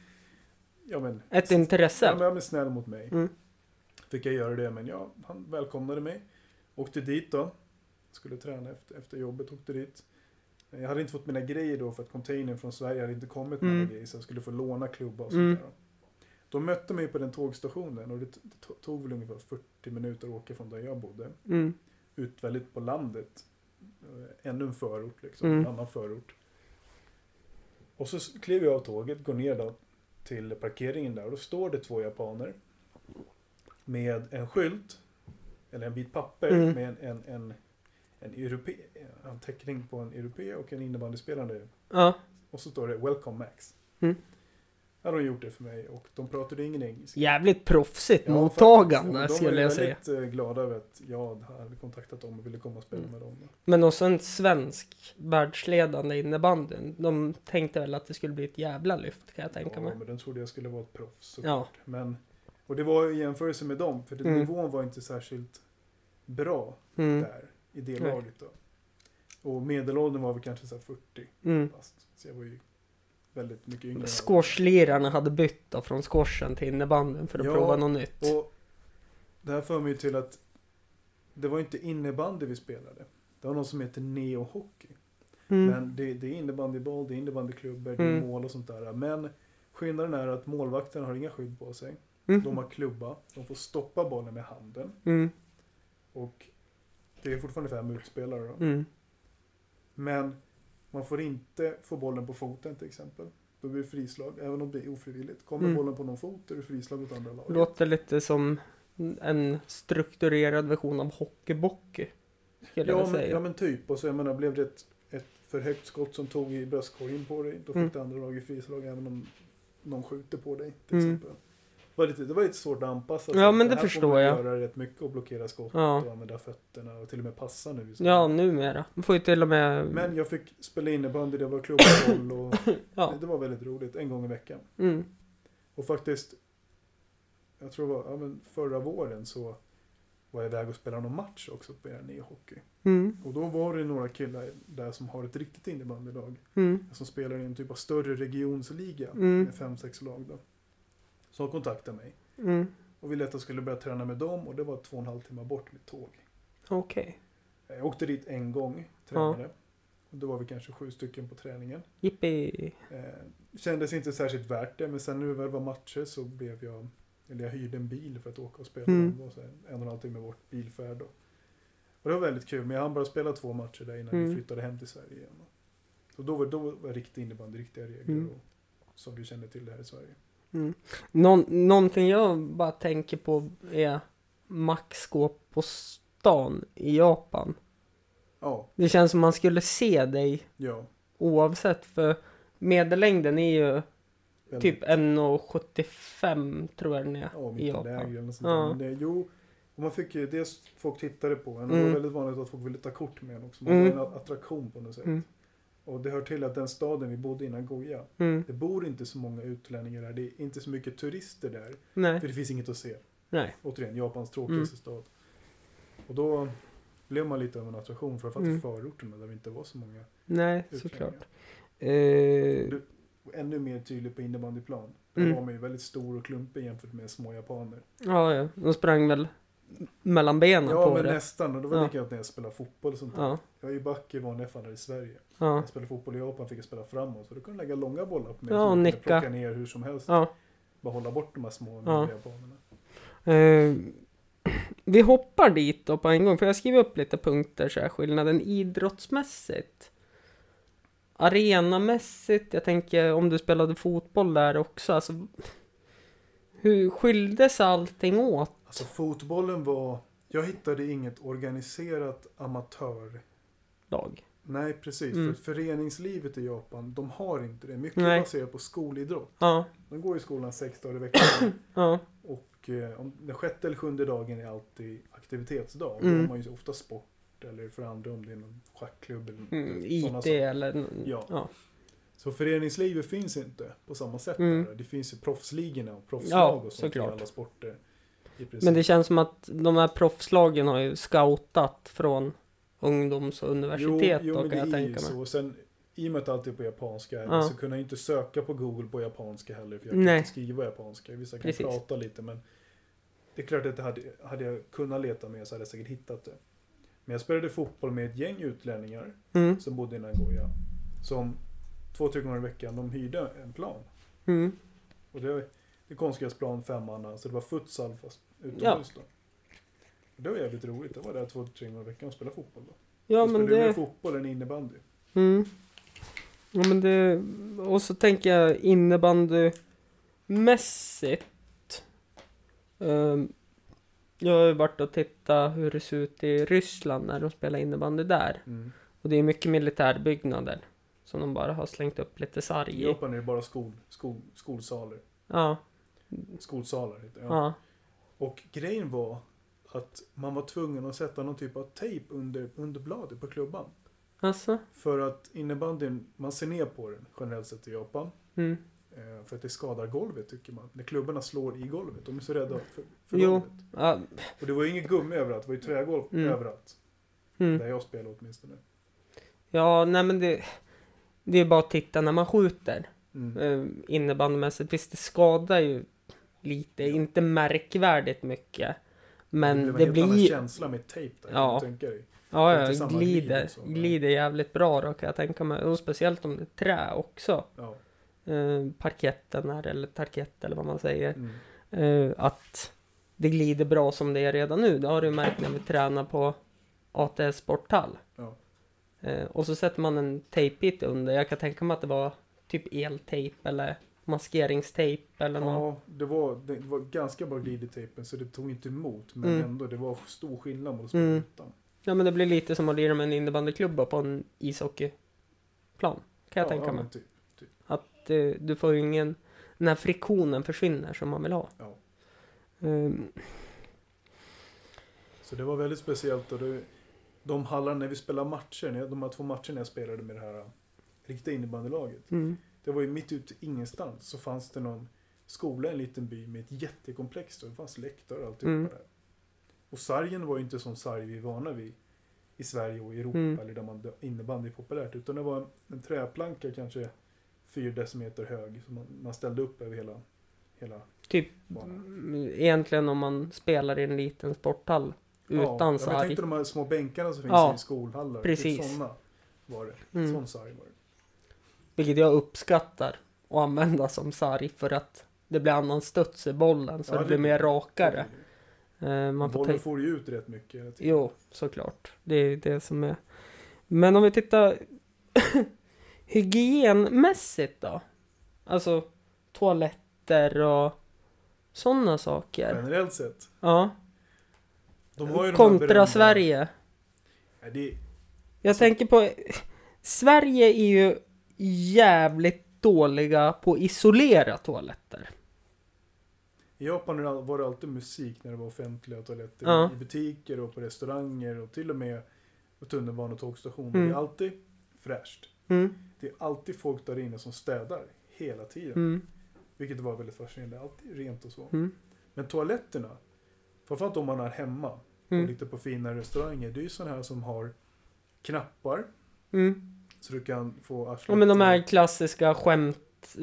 Ja men,
Ett intresse.
ja, men han är snäll mot mig.
Mm.
Fick jag göra det, men ja, han välkomnade mig. Åkte dit då. Skulle träna efter, efter jobbet, åkte dit. Jag hade inte fått mina grejer då för att containern från Sverige hade inte kommit med
Mm.
mina grejer så jag skulle få låna klubba och
Mm.
sånt där. då. De mötte mig på den tågstationen och det t- det to- tog väl ungefär 40 minuter att åka från där jag bodde.
Mm,
Ut väldigt på landet. Eh, Ännu en förort liksom,
Mm.
en annan förort. Och så s- klev jag av tåget, går ner då till parkeringen där och då står det två japaner med en skylt, eller en bit papper
Mm.
med en, en, en, en, europe, en teckning på en europe och en innebandyspelare.
ja,
Och så står det Welcome Max.
Mm.
Ja, de gjort det för mig och de pratade ingen engelska.
jävligt proffsigt
Ja,
mottagande
faktiskt. Och
skulle jag säga.
De var ju väldigt eh, glada över att jag hade kontaktat dem och ville komma och spela
Mm.
med dem.
Men också en svensk världsledande innebandyn. De tänkte väl att det skulle bli ett jävla lyft kan jag tänka
ja,
mig.
men den trodde jag skulle vara ett proffs. såklart.
Ja.
Men, och det var ju i jämförelse med dem, för den
Mm.
nivån var inte särskilt bra
Mm,
där i det
Nej.
laget. Då. Och medelåldern var väl kanske så här 40
mm.
fast. Så jag var ju väldigt mycket yngre. än alla.
Squashlirarna hade bytt då från squashen till innebandyn för att
Ja,
prova något nytt.
Och det här för mig ju till att det var inte innebandy vi spelade. Det var någon som heter neohockey.
Mm,
Men det, det är innebandyboll, det är innebandyklubbor, det är
Mm.
mål och sånt där. Men skillnaden är att målvakterna har inga skydd på sig. De
mm,
har klubba, de får stoppa bollen med handen.
mm,
Och det är fortfarande fem utspelare då.
mm,
Men man får inte få bollen på foten till exempel. Då blir det frislag, även om det är ofrivilligt. Kommer
Mm.
bollen på någon fot är det frislag åt andra laget.
Låter lite som en strukturerad version av hockeybockey. Skulle
Ja
jag
men,
säga.
ja men typ. Och så jag menar, blev det ett, ett för högt skott som tog i bröstkorgen på dig. Då fick
Mm.
det andra laget frislag även om någon skjuter på dig till
Mm.
exempel. Det var, lite, det var lite svårt att anpassa
Ja, men det
här får
förstår
man
jag.
göra rätt mycket och blockera skott
Ja.
och använda fötterna och till och med passa nu. så.
Ja, numera. Man får ju till och med...
Men jag fick spela innebandy, det var klubboll och
ja.
det var väldigt roligt. En gång i veckan.
Mm,
Och faktiskt, jag tror det var ja, men förra våren så var jag iväg och spelade någon match också på er nya hockey.
mm,
Och då var det några killar där som har ett riktigt innebandylag.
mm,
Som spelar i en typ av större regionsliga
Mm.
med fem, sex lag då. Som kontaktade mig
mm.
och ville att jag skulle börja träna med dem och det var två och en halv timme bort med tåg.
Okej.
Jag åkte dit en gång, tränade. Och Då var vi kanske sju stycken på träningen.
Jippi!
Eh, kändes inte särskilt värt det, men sen när det väl var matcher så blev jag, eller jag hyrde en bil för att åka och spela.
Mm.
Mm. Och så en och en halv timme bort bilfärd. Och, och det var väldigt kul, men jag hann bara spela två matcher där innan
Mm.
vi flyttade hem till Sverige igen. Så då var, då var riktig innebandy riktiga regler
Mm.
och, som vi kände till det här i Sverige.
Någon, någonting jag bara tänker på är Max gå på stan i Japan.
Ja,
Det känns som man skulle se dig
ja.
oavsett för medellängden är ju
väldigt-
typ 1,75 tror jag den är
Ja,
i
mitt
Japan.
läger eller något sånt
Ja.
där. Men det, jo, och man fick ju dels folk tittade på en och det
Mm.
var väldigt vanligt att folk ville ta kort med en också. Man
Mm.
var en attraktion på något sätt.
Mm.
Och det hör till att den staden vi bodde i, Nagoya,
Mm,
det bor inte så många utlänningar där. Det är inte så mycket turister där. För
nej,
det finns inget att se.
nej. Mm.
Återigen, Japans tråkigaste stad. Och då blev man lite av en attraktion, framförallt
Mm.
i förorterna där det inte var så många
Nej,
utlänningar.
såklart. Eh,
Du- Och ännu mer tydligt på innebandyplan. Där
Mm.
var man ju väldigt stor och klumpig jämfört med små japaner.
ja, ja, de sprang väl mellan benen
Ja,
på
men
det.
nästan. Och det var
Ja.
likadant när jag spelade fotboll och sånt där.
Ja,
Jag är ju back i vanliga fall här i Sverige.
ja,
Jag spelade fotboll i Japan fick jag spela framåt. Så då kunde jag lägga långa bollar på mig.
Ja,
så jag
och
kunde
nicka.
Plocka ner hur som helst.
ja.
Bara hålla bort de här små
Ja.
mindre japanerna.
Eh, vi hoppar dit då på en gång, för jag skriver upp lite punkter så här, skillnaden idrottsmässigt. Arenamässigt, jag tänker om du spelade fotboll där också, alltså. Hur skildes allting åt?
Alltså fotbollen var... Jag hittade inget organiserat amatör...
Lag?
Nej, precis.
Mm.
För föreningslivet i Japan, de har inte det. Mycket
Nej.
är baserat på skolidrott.
Ja,
De går i skolan sex dagar i veckan.
ja,
och eh, om, den sjätte eller sjunde dagen är alltid aktivitetsdag. Då
Mm.
har man ju ofta sport eller för andra om det är någon schackklubb eller
mm,
Sådana
IT
saker.
eller...
Ja.
ja.
Så föreningslivet finns inte på samma sätt.
Mm.
Där. Det finns ju proffsligorna och proffslag och sånt
såklart.
i alla sporter. I princip.
Men det känns som att de här proffslagen har ju scoutat från ungdoms och universitet
jo, jo,
då,
men det
kan jag
är ju
tänka mig.
så. Och sen, I och med att allt är på japanska här,
Ja.
så kunde jag inte söka på Google på japanska heller. För jag kan
Nej.
inte skriva japanska. Vissa kan
Precis.
prata lite men det är klart att det hade, hade jag kunnat leta mer så hade jag säkert hittat det. Men jag spelade fotboll med ett gäng utlänningar
Mm,
som bodde i Nagoya. Som två, tre gånger i veckan, de hyrde en plan.
mm,
Och det, det är konstgräsplan, femmanna, så det var futsal fast utomhus då. Det var jävligt roligt. Det var där två, tre gånger i veckan och spelade fotboll då.
ja
jag
men
spelade ju
det...
mer fotboll än innebandy.
Mm. Ja, men det, och så tänker jag innebandymässigt. Um, jag har ju varit och tittat hur det ser ut i Ryssland när de spelar innebandy där.
Mm.
Och det är mycket militärbyggnader. Som de bara har slängt upp lite sarg
I
i.
Japan är det bara skol, skol, skolsaler.
Ja,
Skolsalar heter det. Ja.
ja.
Och grejen var att man var tvungen att sätta någon typ av tejp under, under bladet på klubban.
Alltså?
För att innebandyn, man ser ner på den generellt sett i Japan.
Mm.
Eh, För att det skadar golvet tycker man. När klubborna slår i golvet. De är så rädda för, för
Jo.
golvet.
Ja,
Och det var ju inget gummi överallt. Det var ju trägolv
Mm.
överallt.
mm.
Där jag spelade åtminstone.
ja nej men det... Det är bara att titta när man skjuter.
Mm.
eh, innebandymässigt. Visst, det skadar ju lite, inte märkvärdigt mycket. Men det
en helt annan
blir... Ja,
känsla med tejp där.
Ja.
Ja. Tänka dig. Det är inte
ja,
samma alltså.
glider,
glid som-
glider jävligt bra då kan jag tänka mig. Och speciellt om det är trä också.
Ja.
Eh, parketten här, eller tarkett eller vad man säger.
Mm.
Eh, att det glider bra som det är redan nu. Det har du märkt när vi tränar på ATS sporthall.
Ja.
Eh, och så sätter man en tejpbit under. Jag kan tänka mig att det var typ eltejp eller maskeringstejp eller något.
Ja, det var, det var ganska bra glid i tejpen så det tog inte emot. Men
Mm.
ändå, det var stor skillnad mot att spela
Mm.
utan.
Ja men det blir lite som att lira med en innebandyklubba på en ishockeyplan. Kan jag
ja,
tänka
ja,
mig.
men typ.
Att eh, du får ju ingen... Den här friktionen försvinner som man vill ha.
Ja.
Ehm,
Så det var väldigt speciellt. Och det, de hallarna när vi spelade matcher, när jag- de här två matcherna jag spelade med det här äh, riktiga innebandylaget.
mm,
Det var ju mitt ute i ingenstans så fanns det någon skola i en liten by med ett jättekomplex. Och det fanns läktare och alltihopa
Mm.
där. Och sargen var ju inte som sarg vi är vana vid i Sverige och i Europa
Mm.
eller där man där innebandy är populärt. Utan det var en, en träplanka kanske fyra decimeter hög som man, man ställde upp över hela, hela
typ
banan.
mm, egentligen om man spelar i en liten sporthall
Ja,
utan
ja, men
sarg.
Tänk dig de här små bänkarna som finns
Ja,
i skolhallar.
precis.
Typ såna. var det.
Mm.
Sån sarg var det.
Vilket jag uppskattar att använda som sarg för att det blir annan studs i bollen så
Ja,
det
det-
blir mer rakare. Eh, man får ta
Bollen
i-
får ju ut rätt mycket. hela tiden.
Jo, såklart. Det är det som är. Men om vi tittar hygienmässigt då? Alltså toaletter och sådana saker.
Generellt sett.
Ja.
De har ju de här
Kontra
berömda- Alltså-
Sverige.
Ja, det,
Jag tänker på... Sverige är ju jävligt dåliga på att isolera toaletter.
I Japan var det all- var det alltid musik när det var offentliga toaletter.
Ja.
I butiker och på restauranger och till och med på tunnelbana och tågstationer.
Mm.
Det är alltid fräscht.
Mm,
Det är alltid folk där inne som städar hela tiden.
mm,
Vilket var väldigt fascinerande. Alltid rent och så.
mm,
Men toaletterna, framförallt om man är hemma och
mm,
lite på fina restauranger. Det är ju sådana här som har knappar
mm.
så du kan få arslet.
Ja, men de här klassiska skämt...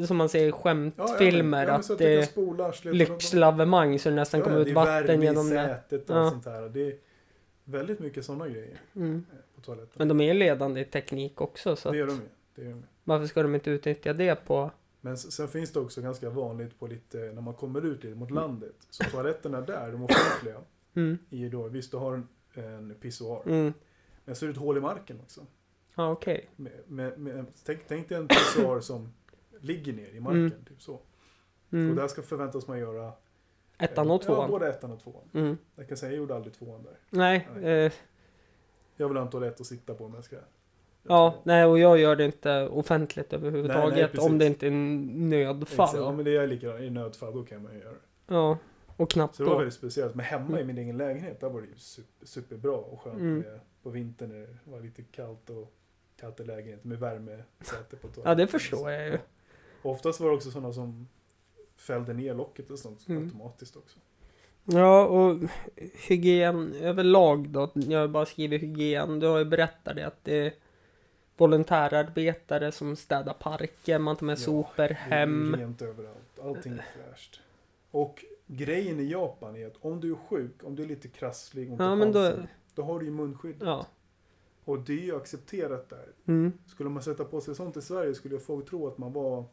Som man ser i skämtfilmer.
men
att
så
det
du
är
kan spola arslet.
lyxlavemang så det nästan kommer ut vatten genom
det.
det.
är värme i sätet och
Ja.
sånt här. Det är väldigt mycket sådana grejer
Mm.
eh, på toaletten.
Men de är ju ledande i teknik också så
det gör
att
de ju. Det gör de ju.
varför ska de inte utnyttja det på...
Men s- sen finns det också ganska vanligt på lite, när man kommer ut lite mot landet. Så toaletterna där, de offentliga,
Mm,
är ju då, visst du har en, en pissoar.
mm.
Men så är det ett hål i marken också.
Ja, okej.
Med, med, med, tänk, tänk dig en pissoar som ligger ner i marken.
Mm.
Typ så. Och
Mm.
där ska förväntas man göra... eh,
Ettan och
Ja,
tvåan.
både ettan och tvåan.
Mm.
Jag kan säga, jag gjorde aldrig tvåan där.
Nej, eh,
Jag vill ha en toalett att sitta på om jag ska...
ja, nej och jag gör det inte offentligt
Nej, nej,
överhuvudtaget
precis.
om det inte är
Exakt. Ja,
nödfall.
men det är likadant. I nödfall, då kan man ju göra det.
Ja, och knappt
Så det var
då.
väldigt speciellt. Men hemma i min egen lägenhet, där var det ju super, superbra och skönt
Mm.
med, på vintern när det var lite kallt och kallt i lägenheten med värme. säte på toaletten.
Ja, det förstår jag ju.
Och Oftast var det också sådana som fällde ner locket och sånt
Mm.
automatiskt också.
Ja, och hygien överlag då. Jag har bara skrivit hygien. Du har ju berättat det att det är volontärarbetare som städar parker, man tar med
Ja,
sopor
Det är ju
hem.
rent överallt. Allting är fräscht. Och grejen i Japan är att om du är sjuk, om du är lite krasslig, ont i
Ja, men då-
halsen, då har du ju munskydd.
Ja.
Och det är ju accepterat där.
Mm.
Skulle man sätta på sig sånt i Sverige skulle folk tro att man var...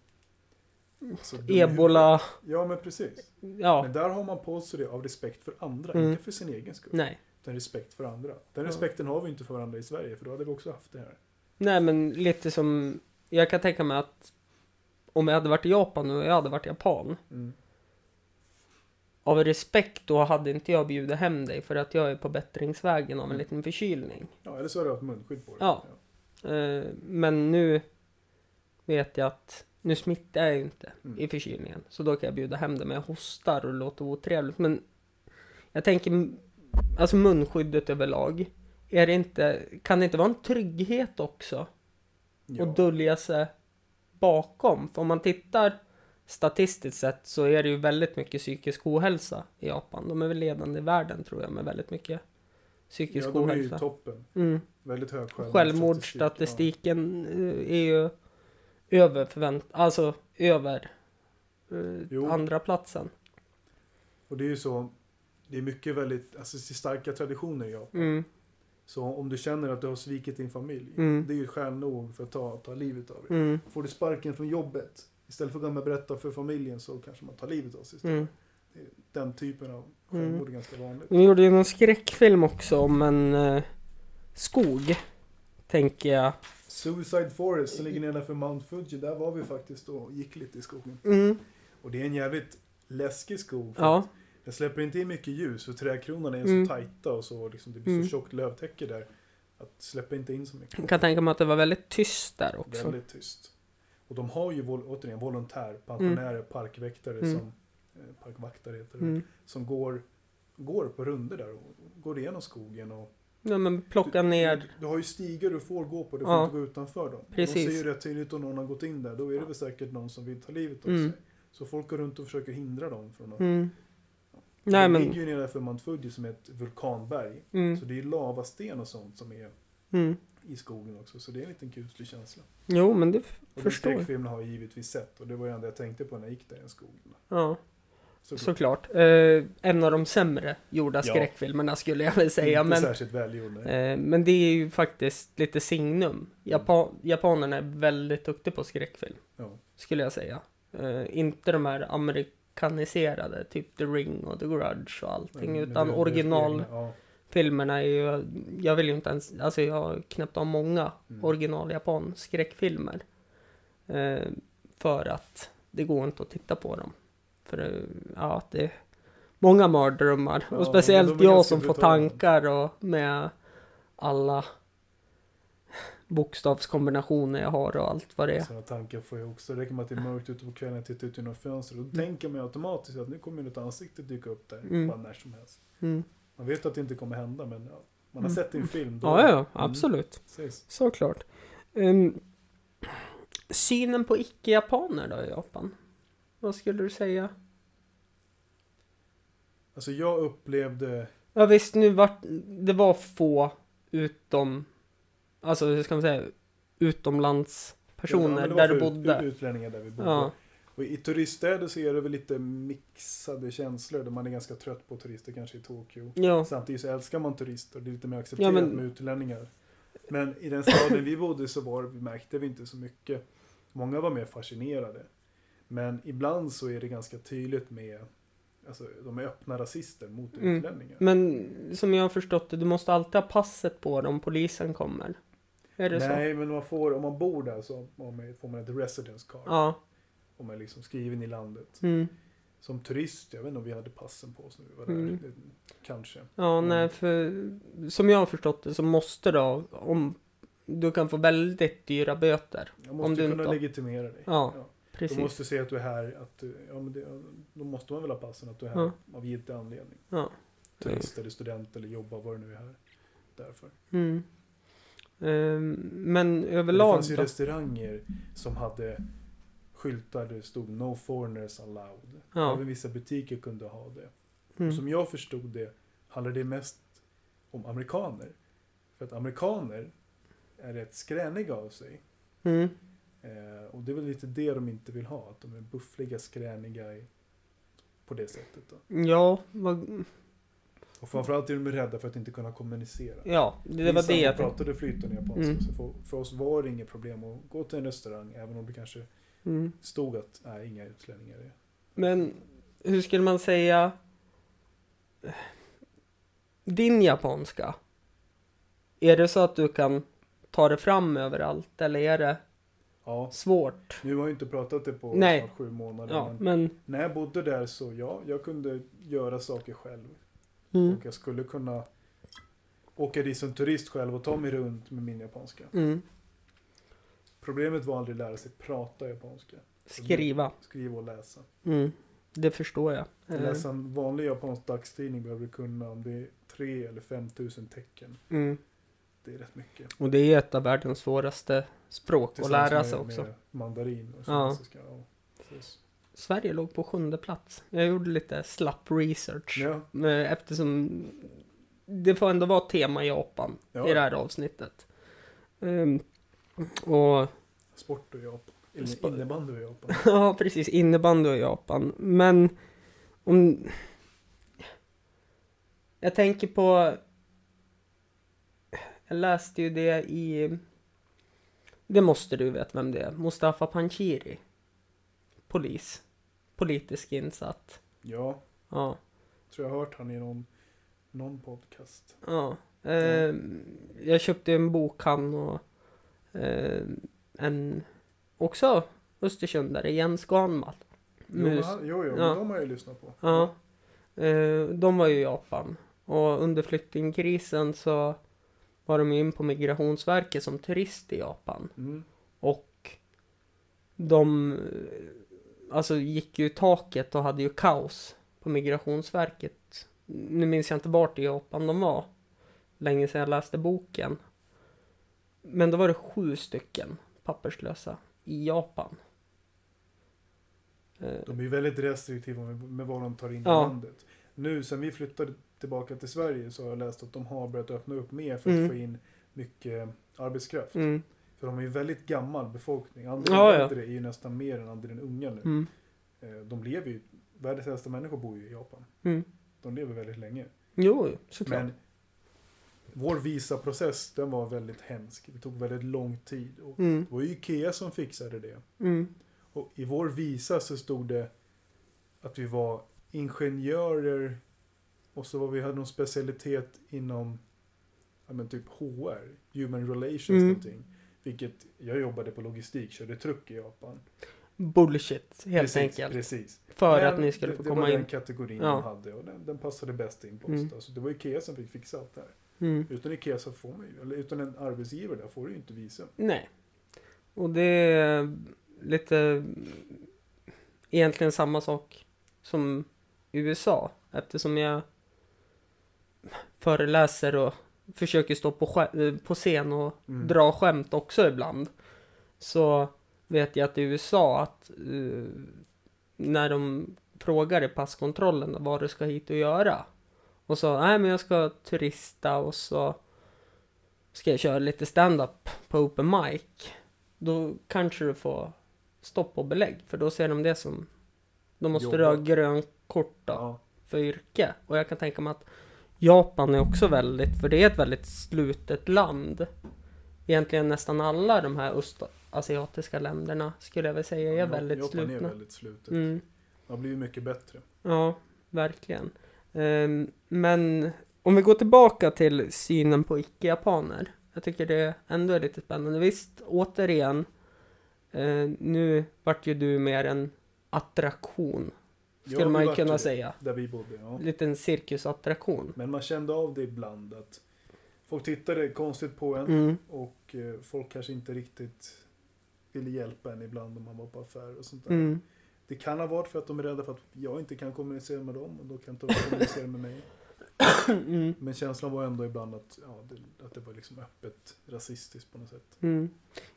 Alltså, så dum i huvudet.
Ebola,
Ja, men precis.
ja.
Men där har man på sig det av respekt för andra,
Mm.
inte för sin egen skull.
Nej.
Utan respekt för andra. Den
Ja.
respekten har vi inte för varandra i Sverige, för då hade vi också haft det här.
Nej men lite som, jag kan tänka mig att om jag hade varit i Japan nu och jag hade varit japan,
Mm.
av respekt då hade inte jag bjudit hem dig för att jag är på bättringsvägen
Mm.
av en liten förkylning.
Ja, eller så har du haft munskydd på dig.
Ja. Eh, men nu vet jag att nu smittar jag ju inte
Mm.
i förkylningen. Så då kan jag bjuda hem det men jag hostar och låter otrevligt. Men jag tänker, m- alltså munskyddet överlag. Är det inte, kan det inte vara en trygghet också?
Ja.
och dölja sig bakom. För om man tittar statistiskt sett så är det ju väldigt mycket psykisk ohälsa i Japan. De är väl ledande i världen tror jag med väldigt mycket psykisk
ja, de är ju
ohälsa.
toppen.
Mm.
Väldigt hög självmordsstatistik.
Självmordsstatistiken eh, är ju över förvänt, alltså över eh,
Jo.
andra platsen.
Ja. Och det är ju så, det är mycket väldigt, alltså det är starka traditioner i Japan.
Mm.
Så om du känner att du har svikit din familj,
Mm.
det är ju skäl nog för att ta, ta livet av dig.
Mm.
Får du sparken från jobbet, istället för att gå hem och berätta för familjen så kanske man tar livet av sig. istället.
Mm.
Den typen av självmord är ganska vanligt.
De gjorde ju någon skräckfilm också om en eh, skog, tänker jag.
Suicide Forest som ligger nedanför Mount Fuji, där var vi faktiskt och gick lite i skogen.
Mm.
Och det är en jävligt läskig skog. för
Ja.
att Den släpper inte in mycket ljus för trädkronorna är
Mm.
så tajta och så liksom, det blir
Mm.
så tjockt lövtäcke där. Att släpper inte in så mycket.
Jag kan tänka mig att det var väldigt tyst där också.
Väldigt tyst. Och de har ju vol- återigen volontär, pensionärer, parkväktare
Mm.
som eh, parkvaktare heter det,
Mm.
som går, går på runder där och går igenom skogen och
Ja, men plocka
Du-
ner.
Du, du har ju stigar du får gå på, du får
Ja.
inte gå utanför dem.
Precis.
De ser ju rätt tydligt om någon har gått in där, då är det väl säkert någon som vill ta livet av
Mm.
sig. Så folk går runt och försöker hindra dem från att...
Mm. Nej
det
men.
ligger ju nedanför Mount Fuji som är ett vulkanberg.
Mm.
Så det är lavasten och sånt som är
Mm.
i skogen också, så det är en liten kuslig känsla.
Jo men det f-
Och den
förstår jag.
skräckfilmen har jag givetvis sett och det var ju det enda jag tänkte på när jag gick där i skogen.
Ja.
Såklart.
såklart. Eh, en av de sämre gjorda
Ja.
skräckfilmerna skulle jag väl säga.
Inte
Men,
särskilt välgjord. nej.
eh, men det är ju faktiskt lite signum. Japa- Japanerna är väldigt duktiga på skräckfilm.
Ja.
skulle jag säga. Eh, inte de här amerikaniserade, typ The Ring och The Grudge och allting,
Mm, Men-
utan
men det- det- det-
originalfilmerna
Ja,
är ju... Jag vill ju inte ens... Alltså jag har knäppt av många
Mm.
original japan skräckfilmer. Eh, för att det går inte att titta på dem. För eh, ja, det är många mardrömmar.
Ja,
och
men
speciellt
de är
jag
ganska
som får
brutala.
tankar och med alla bokstavskombinationer jag har och allt vad det är.
Sådana tankar får jag också. Det räcker med att det är mörkt ute på kvällen och tittar ut genom fönstret. Då tänker man ju automatiskt att nu kommer något ansikte dyka upp där.
Mm.
Bara när som helst.
Mm.
Man vet att det inte kommer hända men ja, man har
Mm.
sett det i en film. Då,
Ja, ja, absolut.
Precis.
Såklart. Ehm, synen på icke-japaner då i Japan? Vad skulle du säga?
Alltså jag upplevde
Ja visst, nu vart det var få utom, alltså hur ska man säga,
Ja,
utomlandspersoner
men det var
där
för
du
ut-
bodde.
Utlänningar där vi bodde.
ja,
Och i turiststäder så är det väl lite mixade känslor. Där man är ganska trött på turister kanske i Tokyo.
ja,
Samtidigt så älskar man turister. Det är lite mer accepterat
Ja, men-
med utlänningar. Men i den staden vi bodde så var, märkte vi inte så mycket. Många var mer fascinerade. Men ibland så är det ganska tydligt med Alltså de är öppna rasister mot
Mm.
utlänningar.
men som jag har förstått det, du måste alltid ha passet på dig om polisen kommer. Är det så?
Nej, men man får, om man bor där så har man- får man ett residence card.
Ja,
Om man är liksom skriven i landet.
mm.
Som turist, jag vet inte om vi hade passen på oss när vi var där.
Mm.
Det- Kanske.
Ja,
Mm.
nej, för som jag har förstått det så måste då, om du kan få väldigt dyra böter.
Jag måste
Om du
kunna
inte har-
legitimera dig.
Ja,
De
Precis.
måste se att du är här, att du, ja, men det, då måste man väl ha passen att du är här av giltig anledning.
Ja.
Turist eller student eller jobbar, vad du nu är här. Därför.
Mm. Ehm, men
Men det
överlag
fanns ju
då?
restauranger som hade skyltar där det stod No foreigners allowed.
Ja.
Även vissa butiker kunde ha det. Och
Mm.
Som jag förstod det handlar det mest om amerikaner. För att amerikaner är rätt skräniga av sig.
Mm.
Eh, och det är väl lite det de inte vill ha. Att de är buffliga, skräniga i, på det sättet. Då.
Ja, vad,
Och framförallt är de rädda för att inte kunna kommunicera.
ja, det
Vi
var
satt
det
och
jag tänkte.
pratade flytande japanska.
Mm.
Så för, för oss var det inget problem att gå till en restaurang. Även om det kanske
Mm.
stod att nej, inga utlänningar är.
Men hur skulle man säga? Din japanska? Är det så att du kan ta det fram överallt eller är det
Ja,
svårt?
nu har jag ju inte pratat det på
Nej.
snart sju månader.
Ja,
Men
men...
när jag bodde där så ja, jag kunde göra saker själv.
Mm.
Och jag skulle kunna åka dit som turist själv och ta mig runt med min japanska.
Mm.
Problemet var aldrig att lära sig prata japanska.
Skriva.
Skriva och läsa.
Mm. Det förstår jag.
Att läsa en vanlig japansk dagstidning behöver du kunna om det är 3 eller 5 tusen tecken.
Mm.
Det är rätt mycket.
Och det är ett av världens svåraste språk att
Tillsammans
lära
med-
sig också.
Med mandarin och
Ja.
kinesiska. Ja. precis.
Sverige låg på sjunde plats. Jag gjorde lite slapp research.
Ja,
Eh, Eftersom det får ändå vara tema Japan
Ja.
i det här avsnittet. Ehm, och
sport och Japan. Eller
Sp-
innebandy och Japan.
ja, precis, innebandy och Japan. Men om... Jag tänker på... Jag läste ju det i... Det måste du veta vem det är. Mustafa Panshiri. Polis. Politisk insatt.
Ja,
Ja.
tror jag har hört han i någon, någon podcast.
Ja. Eh, Jag köpte en bok han och eh, en också Östersundsare, Jens Ganman.
Jo, men
Mus.
han- jo, jo
Ja.
men de har jag ju lyssnat på.
Ja. Eh, de var ju i Japan. Och under flyktingkrisen så var de in på Migrationsverket som turist i Japan.
Mm.
Och de eh, alltså, gick ju i taket och hade ju kaos på Migrationsverket. Nu minns jag inte vart i Japan de var. Länge sedan jag läste boken. Men då var det sju stycken papperslösa i Japan. Eh,
De är ju väldigt restriktiva med, med vad de tar in
Ja.
i landet. Nu sen vi flyttade tillbaka till Sverige så har jag läst att de har börjat öppna upp mer för att
Mm.
få in mycket arbetskraft.
mm,
För de är ju väldigt gammal befolkning. Andelen
Ja, ja.
äldre är ju nästan mer än andelen unga nu.
mm,
Eh, De lever ju världens äldsta människor bor ju i Japan.
Mm.
De lever väldigt länge.
Jo, såklart.
Men vår visaprocess den var väldigt hemsk. Det tog väldigt lång tid. Och
Mm,
det var ju Ikea som fixade det.
mm,
Och i vår visa så stod det att vi var ingenjörer och så var vi hade någon specialitet inom ja, men typ HR, Human Relations
Mm.
någonting. Vilket jag jobbade på logistik, körde truck i Japan.
Bullshit, helt
precis,
enkelt.
Precis.
För
Men
att ni skulle få
det, det
komma
var den
in.
kategorin
Ja.
de hade och den, den passade bäst in på oss.
Mm.
Då. Så det var Ikea som fick fixa allt det här.
Mm.
Utan Ikea så får man ju, eller utan en arbetsgivare där får du ju inte visum.
Nej. Och det är lite egentligen samma sak som USA eftersom jag föreläser och försöker stå på, skä- eh, på scen och
Mm.
dra skämt också ibland. Så vet jag att i USA att eh, när de frågar i passkontrollen vad du ska hit och göra. Och så, nej men jag ska turista och så ska jag köra lite stand-up på open mic. Då kanske du får stopp och belägg för då ser de det som, då måste du ha
Jobbat.
grönt kort då
Ja.
för yrke. Och jag kan tänka mig att Japan är också väldigt, för det är ett väldigt slutet land. Egentligen nästan alla de här östasiatiska länderna skulle jag väl säga är
Ja,
väldigt
Japan
slutna.
är väldigt slutet.
Mm,
Det har blivit mycket bättre.
ja, verkligen. Ehm, men om vi går tillbaka till synen på icke-japaner. Jag tycker det ändå är lite spännande. Visst, återigen, eh, nu vart ju du mer en attraktion,
Ja,
skulle
vi
man ju
vart
kunna
det,
säga.
Där vi bodde, ja.
Liten cirkusattraktion.
Men man kände av det ibland att folk tittade konstigt på en
Mm.
och eh, folk kanske inte riktigt ville hjälpa en ibland om man var på affär och sånt där.
Mm.
Det kan ha varit för att de är rädda för att jag inte kan kommunicera med dem och då kan inte de kommunicera med mig.
Mm.
Men känslan var ändå ibland att, ja, det, att det var liksom öppet rasistiskt på något sätt.
Mm.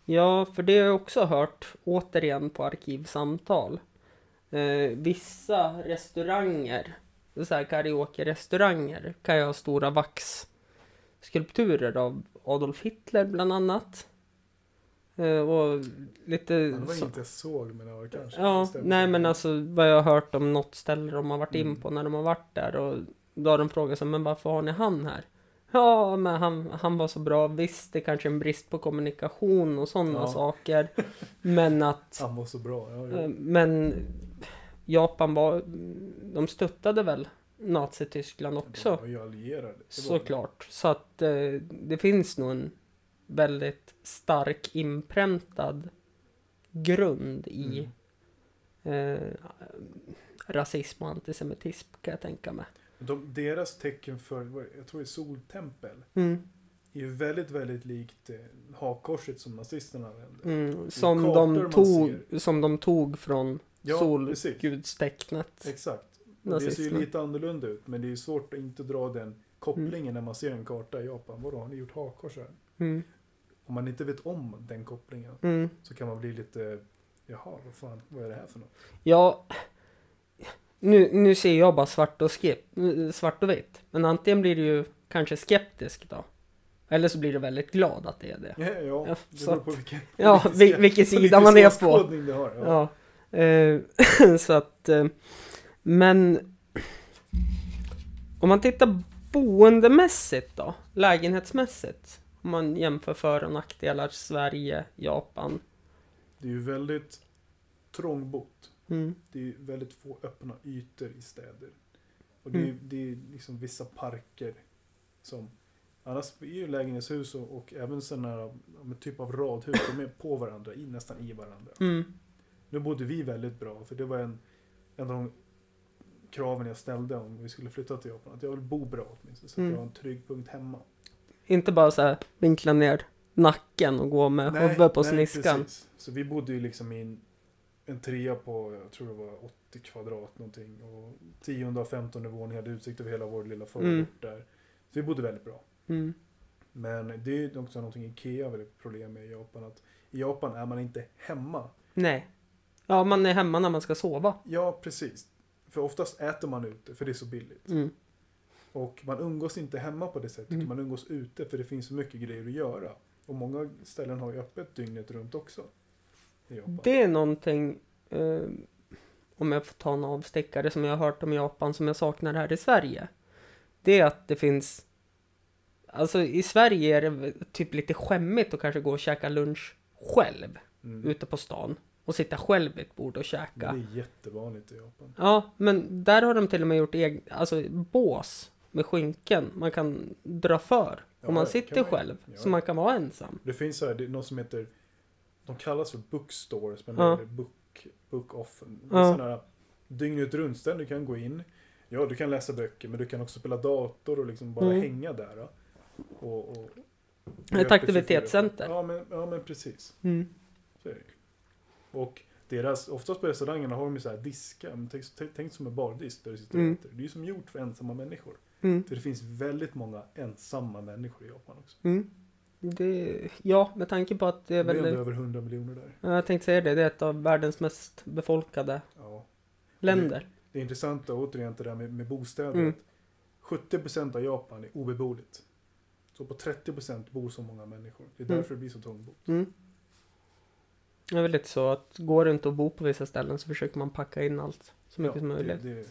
Ja, för det har jag också hört återigen på arkivsamtal. Eh, vissa restauranger, så här karaoke-restauranger, kan ju ha stora vaxskulpturer av Adolf Hitler bland annat. Eh, och lite...
Ja, Det var
Mm, så-
inget jag såg men det var kanske.
Ja,
det stämmer.
nej men alltså vad jag har hört om något ställe de har varit in
Mm.
på när de har varit där och då har de frågat sig, men varför har ni han här? Ja, men han, han var så bra, visst det kanske är en brist på kommunikation och sådana
Ja.
saker. Men att,
Han var så bra. Ja,
eh,
ja.
men Japan var, de stöttade väl Nazityskland också
De var ju allierade. Det var-
såklart. Så att eh, det finns nog en väldigt stark inpräntad grund i
Mm.
eh, rasism och antisemitism kan jag tänka mig.
De, deras tecken för, vad- jag tror det är soltempel,
Mm.
är ju väldigt, väldigt likt eh, hakkorset som nazisterna använde.
Mm. Som,
kartor
de
man
tog, som de tog från
Ja, precis.
solgudstecknet.
Exakt. Och Det ser ju
Nazismen.
lite annorlunda ut men det är ju svårt att inte dra den kopplingen när man ser en karta i Japan. Vadå, har ni gjort hakkors här?
Mm.
Om man inte vet om den kopplingen
Mm.
så kan man bli lite, jaha, vad fan, vad är det här för något?
Ja, nu, nu ser jag bara svart och, skep, svart och vitt. Men antingen blir du ju kanske skeptisk då. Eller så blir du väldigt glad att det är det.
Ja, ja det
så
beror
att-
på vilken,
Ja,
politisk-
vil- vilken sida
politisk
man är på.
åskådning det har. Ja.
Ja. Eh, så att... Eh, men... Om man tittar boendemässigt då, lägenhetsmässigt. Om man jämför för och nackdelar Sverige, Japan.
Det är ju väldigt trångbott.
Mm.
Det är ju väldigt få öppna ytor i städer. Och det är,
Mm.
det är liksom vissa parker som Annars är ju lägenhetshus och, och även sådana här ja, men typ av radhus, de är på varandra, i, nästan i varandra.
Mm.
Nu bodde vi väldigt bra, för det var en, en av de kraven jag ställde om vi skulle flytta till Japan. Att jag vill bo bra åtminstone, så att
Mm.
jag har en trygg punkt hemma.
Inte bara så här vinkla ner nacken och gå med huvudet på sniskan.
precis. Så vi bodde ju liksom i en, en trea på, jag tror det var 80 kvadrat någonting. Och tionde och femtonde våning hade utsikt över hela vår lilla förort
Mm.
där. Så vi bodde väldigt bra.
Mm.
Men det är ju också någonting Ikea har väldigt problem med i Japan. Att I Japan är man inte hemma.
Nej. Ja, man är hemma när man ska sova.
Ja, precis. För oftast äter man ute, för det är så billigt.
Mm.
Och man umgås inte hemma på det sättet,
Mm.
utan man umgås ute för det finns så mycket grejer att göra. Och många ställen har ju öppet dygnet runt också. I Japan.
Det är någonting eh, om jag får ta en avstickare som jag har hört om i Japan som jag saknar här i Sverige. Det är att det finns... Alltså i Sverige är det väl typ lite skämmigt att kanske gå och käka lunch själv
Mm.
ute på stan och sitta själv vid ett bord och
Det
käka.
är jättevanligt i Japan.
Ja, men där har de till och med gjort egen, alltså bås med skinken man kan dra för
Ja,
om man
det kan
sitter
man ju.
själv.
Ja,
Så
ja.
man kan vara ensam.
Det finns så här, det är något som heter... De kallas för bookstores, men
Ja.
det är book, book offen. Det är
Ja.
sådana här dygnet runt ställen du kan gå in. Ja, du kan läsa böcker, men du kan också spela dator och liksom bara
Mm.
hänga där. då. Och, och,
Ett aktivitetscenter.
Ja men, ja, men precis.
Mm.
Så är det. Och deras, oftast på restaurangerna har de ju så här diskar. Men Tänk, tänk, tänk som en bardisk där du sitter
Mm.
och äter. Det är ju som gjort för ensamma människor.
Mm.
För det finns väldigt många ensamma människor i Japan också.
Mm. Det, ja, med tanke på att det är
Det är
väl...
ändå över 100 miljoner där.
Ja, Jag tänkte säga det, det är ett av världens mest befolkade
Ja.
länder.
Det är intressant då, återigen det där med, med bostäder.
Mm.
att 70% av Japan är obeboeligt. Så på 30% bor så många människor. Det är
Mm.
därför det blir så trångbott.
Mm. Det är väl lite så att går det inte att bo på vissa ställen så försöker man packa in allt så mycket som möjligt.
Det, det,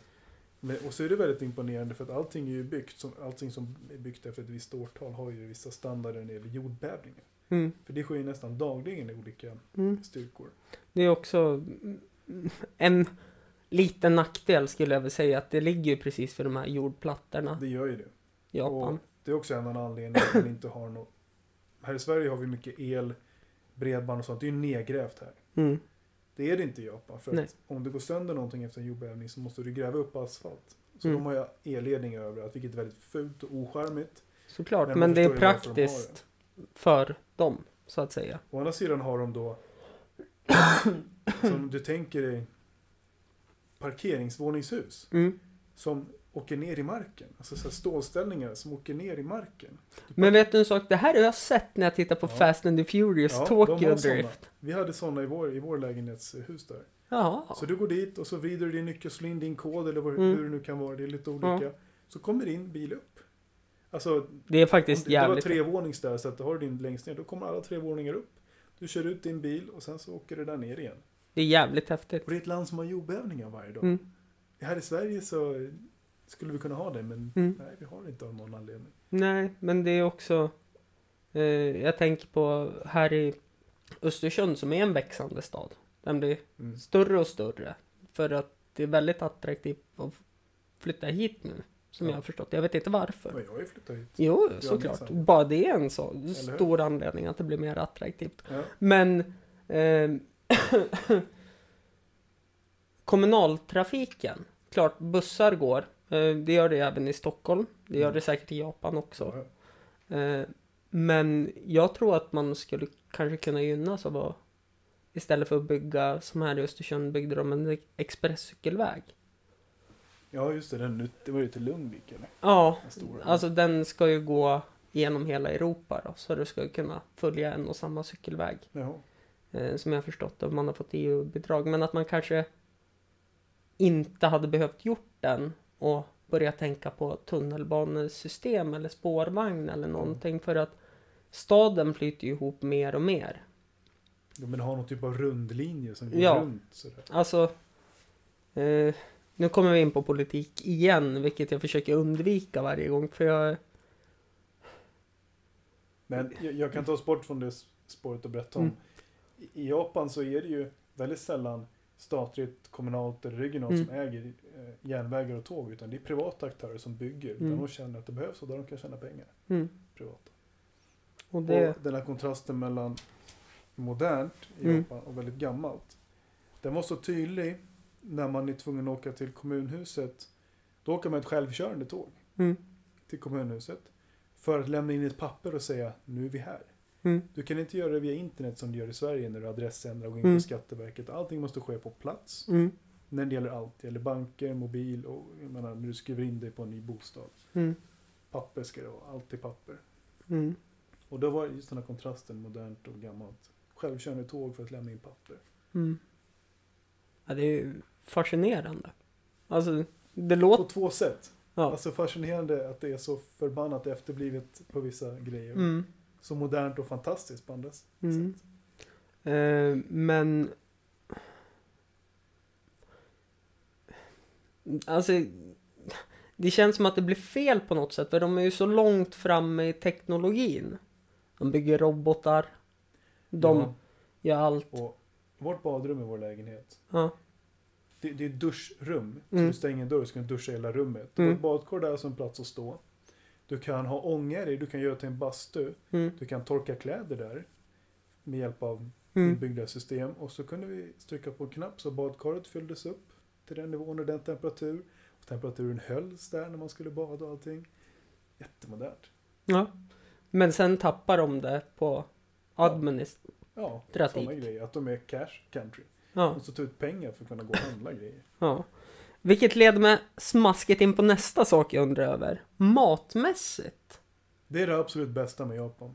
men, och så är det väldigt imponerande för att allting är ju byggt, som, allting som är byggt efter ett visst årtal har ju vissa standarder när det gäller jordbävningar.
Mm.
För det sker ju nästan dagligen i olika
Mm.
styrkor.
Det är också mm, en liten nackdel skulle jag väl säga att det ligger ju precis för de här jordplattorna
Det gör ju det.
i Japan.
Och det är också en annan anledning att man inte har något... Här i Sverige har vi mycket el, bredband och sånt. Det är ju nedgrävt här.
Mm.
Det är det inte i Japan. För
Nej.
att om det går sönder någonting efter en jordbävning så måste du gräva upp asfalt. Så
Mm.
de har ju elledningar överallt, vilket är väldigt fult och ocharmigt.
Såklart,
Men
men,
man
det är
förstår ju varför de har
praktiskt för dem så att säga.
Å andra sidan har de då, som du tänker dig, parkeringsvåningshus
Mm.
som åker ner i marken. Alltså så här stålställningar som åker ner i marken.
Men vet du en sak? Det här har jag sett när jag tittar på
Ja.
Fast and the Furious
Ja, de
Tokyo
har såna.
Drift.
Vi hade sådana i vår, i vår lägenhetshus där.
Ja.
Så du går dit och så vrider du din nyckel, slår in din kod eller vad,
Mm.
hur det nu kan vara. Det är lite olika. Så kommer din bil upp. Alltså,
Det är
om
faktiskt
det, det var
jävligt...
trevånings där så att du har din längst ner, då kommer alla tre våningar upp. Du kör ut din bil och sen så åker du där ner igen.
Det är jävligt häftigt.
Och det är ett land som har jordbävningar varje dag.
Mm.
Här i Sverige så skulle vi kunna ha det, men
Mm.
nej, vi har det inte av någon anledning.
Nej, men det är också... Eh, jag tänker på här i Östersund som är en växande stad. Den blir
Mm.
större och större. För att det är väldigt attraktivt att flytta hit nu. Som
Ja.
jag har förstått Jag vet inte varför.
Men jag har ju flyttat hit.
Jo,
det är
såklart.
sant.
Bara det är en så
liksom. hur?
stor anledning att det blir mer attraktivt.
Ja.
Men ehm, kommunaltrafiken, klart bussar går. Eh, det gör det även i Stockholm. Det gör
Mm.
det säkert i Japan också.
Ja.
Eh, men jag tror att man skulle kanske kunna gynnas av att istället för att bygga som här i Östersund byggde de en expresscykelväg.
ja, just det. Den, ut- det var ju till Lugnvik, eller?
Ja,
Den stora.
alltså den ska ju gå genom hela Europa då, så du ska kunna följa en och samma cykelväg.
Jaha.
eh, som jag har förstått och man har fått EU-bidrag. Men att man kanske inte hade behövt gjort den och börja tänka på tunnelbanesystem eller spårvagn eller någonting för att staden flyter ju ihop mer och mer.
Ja, men ha någon typ av rundlinje som går
Ja.
runt sådär.
Alltså, eh, nu kommer vi in på politik igen, vilket jag försöker undvika varje gång för jag...
Men jag, jag kan ta oss bort från det s- spåret och berätta om.
Mm.
I- I Japan så är det ju väldigt sällan statligt, kommunalt eller regionalt
Mm.
som äger eh, järnvägar och tåg. Utan det är privata aktörer som bygger. Där
Mm.
de känner att det behövs och där de kan tjäna pengar.
Mm,
Privat.
och
Och
det...
den här kontrasten mellan modernt i
Mm.
Japan och väldigt gammalt. Den var så tydlig när man är tvungen att åka till kommunhuset. Då åker man ett självkörande tåg
Mm,
till kommunhuset. För att lämna in ett papper och säga nu är vi här.
mm,
Du kan inte göra det via internet som du gör i Sverige när du adressändrar och går in
Mm.
på Skatteverket. Allting måste ske på plats.
mm,
När det gäller allt. Det gäller banker, mobil och jag menar, när du skriver in dig på en ny bostad.
mm,
Papper ska det vara. Allt är papper.
mm.
Och då var just den här kontrasten modernt och gammalt. Självkörande tåg för att lämna in papper.
Mm. Ja, det är ju fascinerande. Alltså, det
På
låter...
två sätt.
Ja.
Alltså fascinerande att det är så förbannat efterblivet på vissa grejer.
Mm,
Så modernt och fantastiskt på andra s-
mm.
sätt.
Eh, men... Alltså, det känns som att det blir fel på något sätt för de är ju så långt framme i teknologin. De bygger robotar. De
Ja,
gör allt.
och vårt badrum i vår lägenhet.
Ja.
Det, det är duschrum. Så
Mm.
du stänger en dörr så kan du duscha i hela rummet.
Mm.
Och ett badkar där som en plats att stå. Du kan ha ångor i, du kan göra till en bastu.
Mm.
Du kan torka kläder där. Med hjälp av
Mm.
inbyggda system. Och så kunde vi trycka på en knapp så badkaret fylldes upp till den nivån och den temperatur. Och temperaturen hölls där när man skulle bada och allting. Jättemodernt.
Ja. Men sen tappar de det på administ...
Ja,
Drastik.
sådana grejer. Att de är cash country.
Ja.
De måste ta ut pengar för att kunna gå och handla grejer.
ja. Vilket leder mig smaskigt in på nästa sak jag undrar över. Matmässigt.
Det är det absolut bästa med Japan.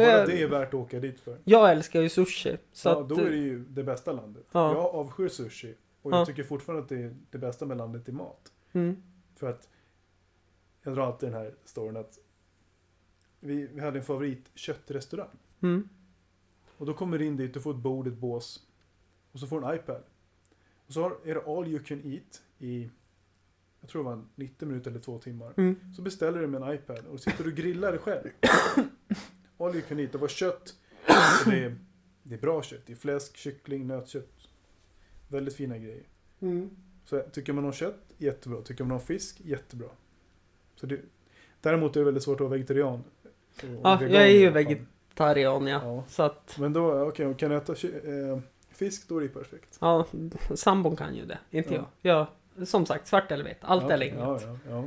Ja,
bara
jag-
det är värt att åka dit för.
Jag älskar ju sushi. Så
ja,
att, eh,
då är det ju det bästa landet.
Ja.
Jag avskyr sushi. Och jag
Ja.
tycker fortfarande att det är det bästa med landet i mat.
mm,
För att jag drar alltid den här storyn att vi, vi hade en favoritköttrestaurang.
mm,
Och då kommer du in dit, du får ett bord, ett bås. Och så får du en iPad. Och så har, är det all you can eat i, jag tror det var 90 minuter eller två timmar.
mm.
Så beställer du med en iPad och sitter och grillar dig själv. All you can eat, det var kött. Och Det är, det är bra kött, det är fläsk, kyckling, nötkött. Väldigt fina grejer.
mm.
Så tycker man om kött, jättebra. Tycker man om fisk, jättebra. Så det, däremot är det väldigt svårt att vara vegetarian. och
Ja,
vegan
jag är
i
ju
alla fall.
vegetarian ja.
Ja.
Så att,
Men då, okej, om kan jag äta kö- eh, fisk, då är det perfekt.
ja, sambon kan ju det. Inte
Ja.
jag. Jag, som sagt, svart eller vitt. Allt
Ja,
eller
okej,
inget.
ja, ja, ja.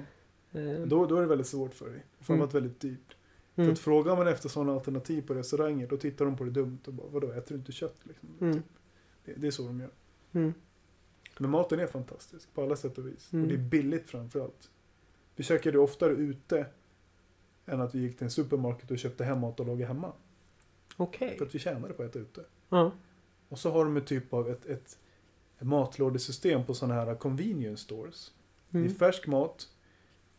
Eh,
Då, då är det väldigt svårt för dig. Framförallt väldigt dyrt. För
mm,
att frågar man efter sådana alternativ på restauranger då tittar de på det dumt och bara vadå äter du inte kött? Liksom.
mm,
Det, det är så de gör.
mm,
Men maten är fantastisk på alla sätt och vis.
Mm.
Och det är billigt framförallt. Vi käkade oftare ute än att vi gick till en supermarket och köpte hem mat och lagade hemma.
Okej.
För att vi tjänade på att äta ute.
Ja.
Och så har de en typ av ett, ett, ett matlådesystem på sådana här convenience stores. Det
Mm,
är färsk mat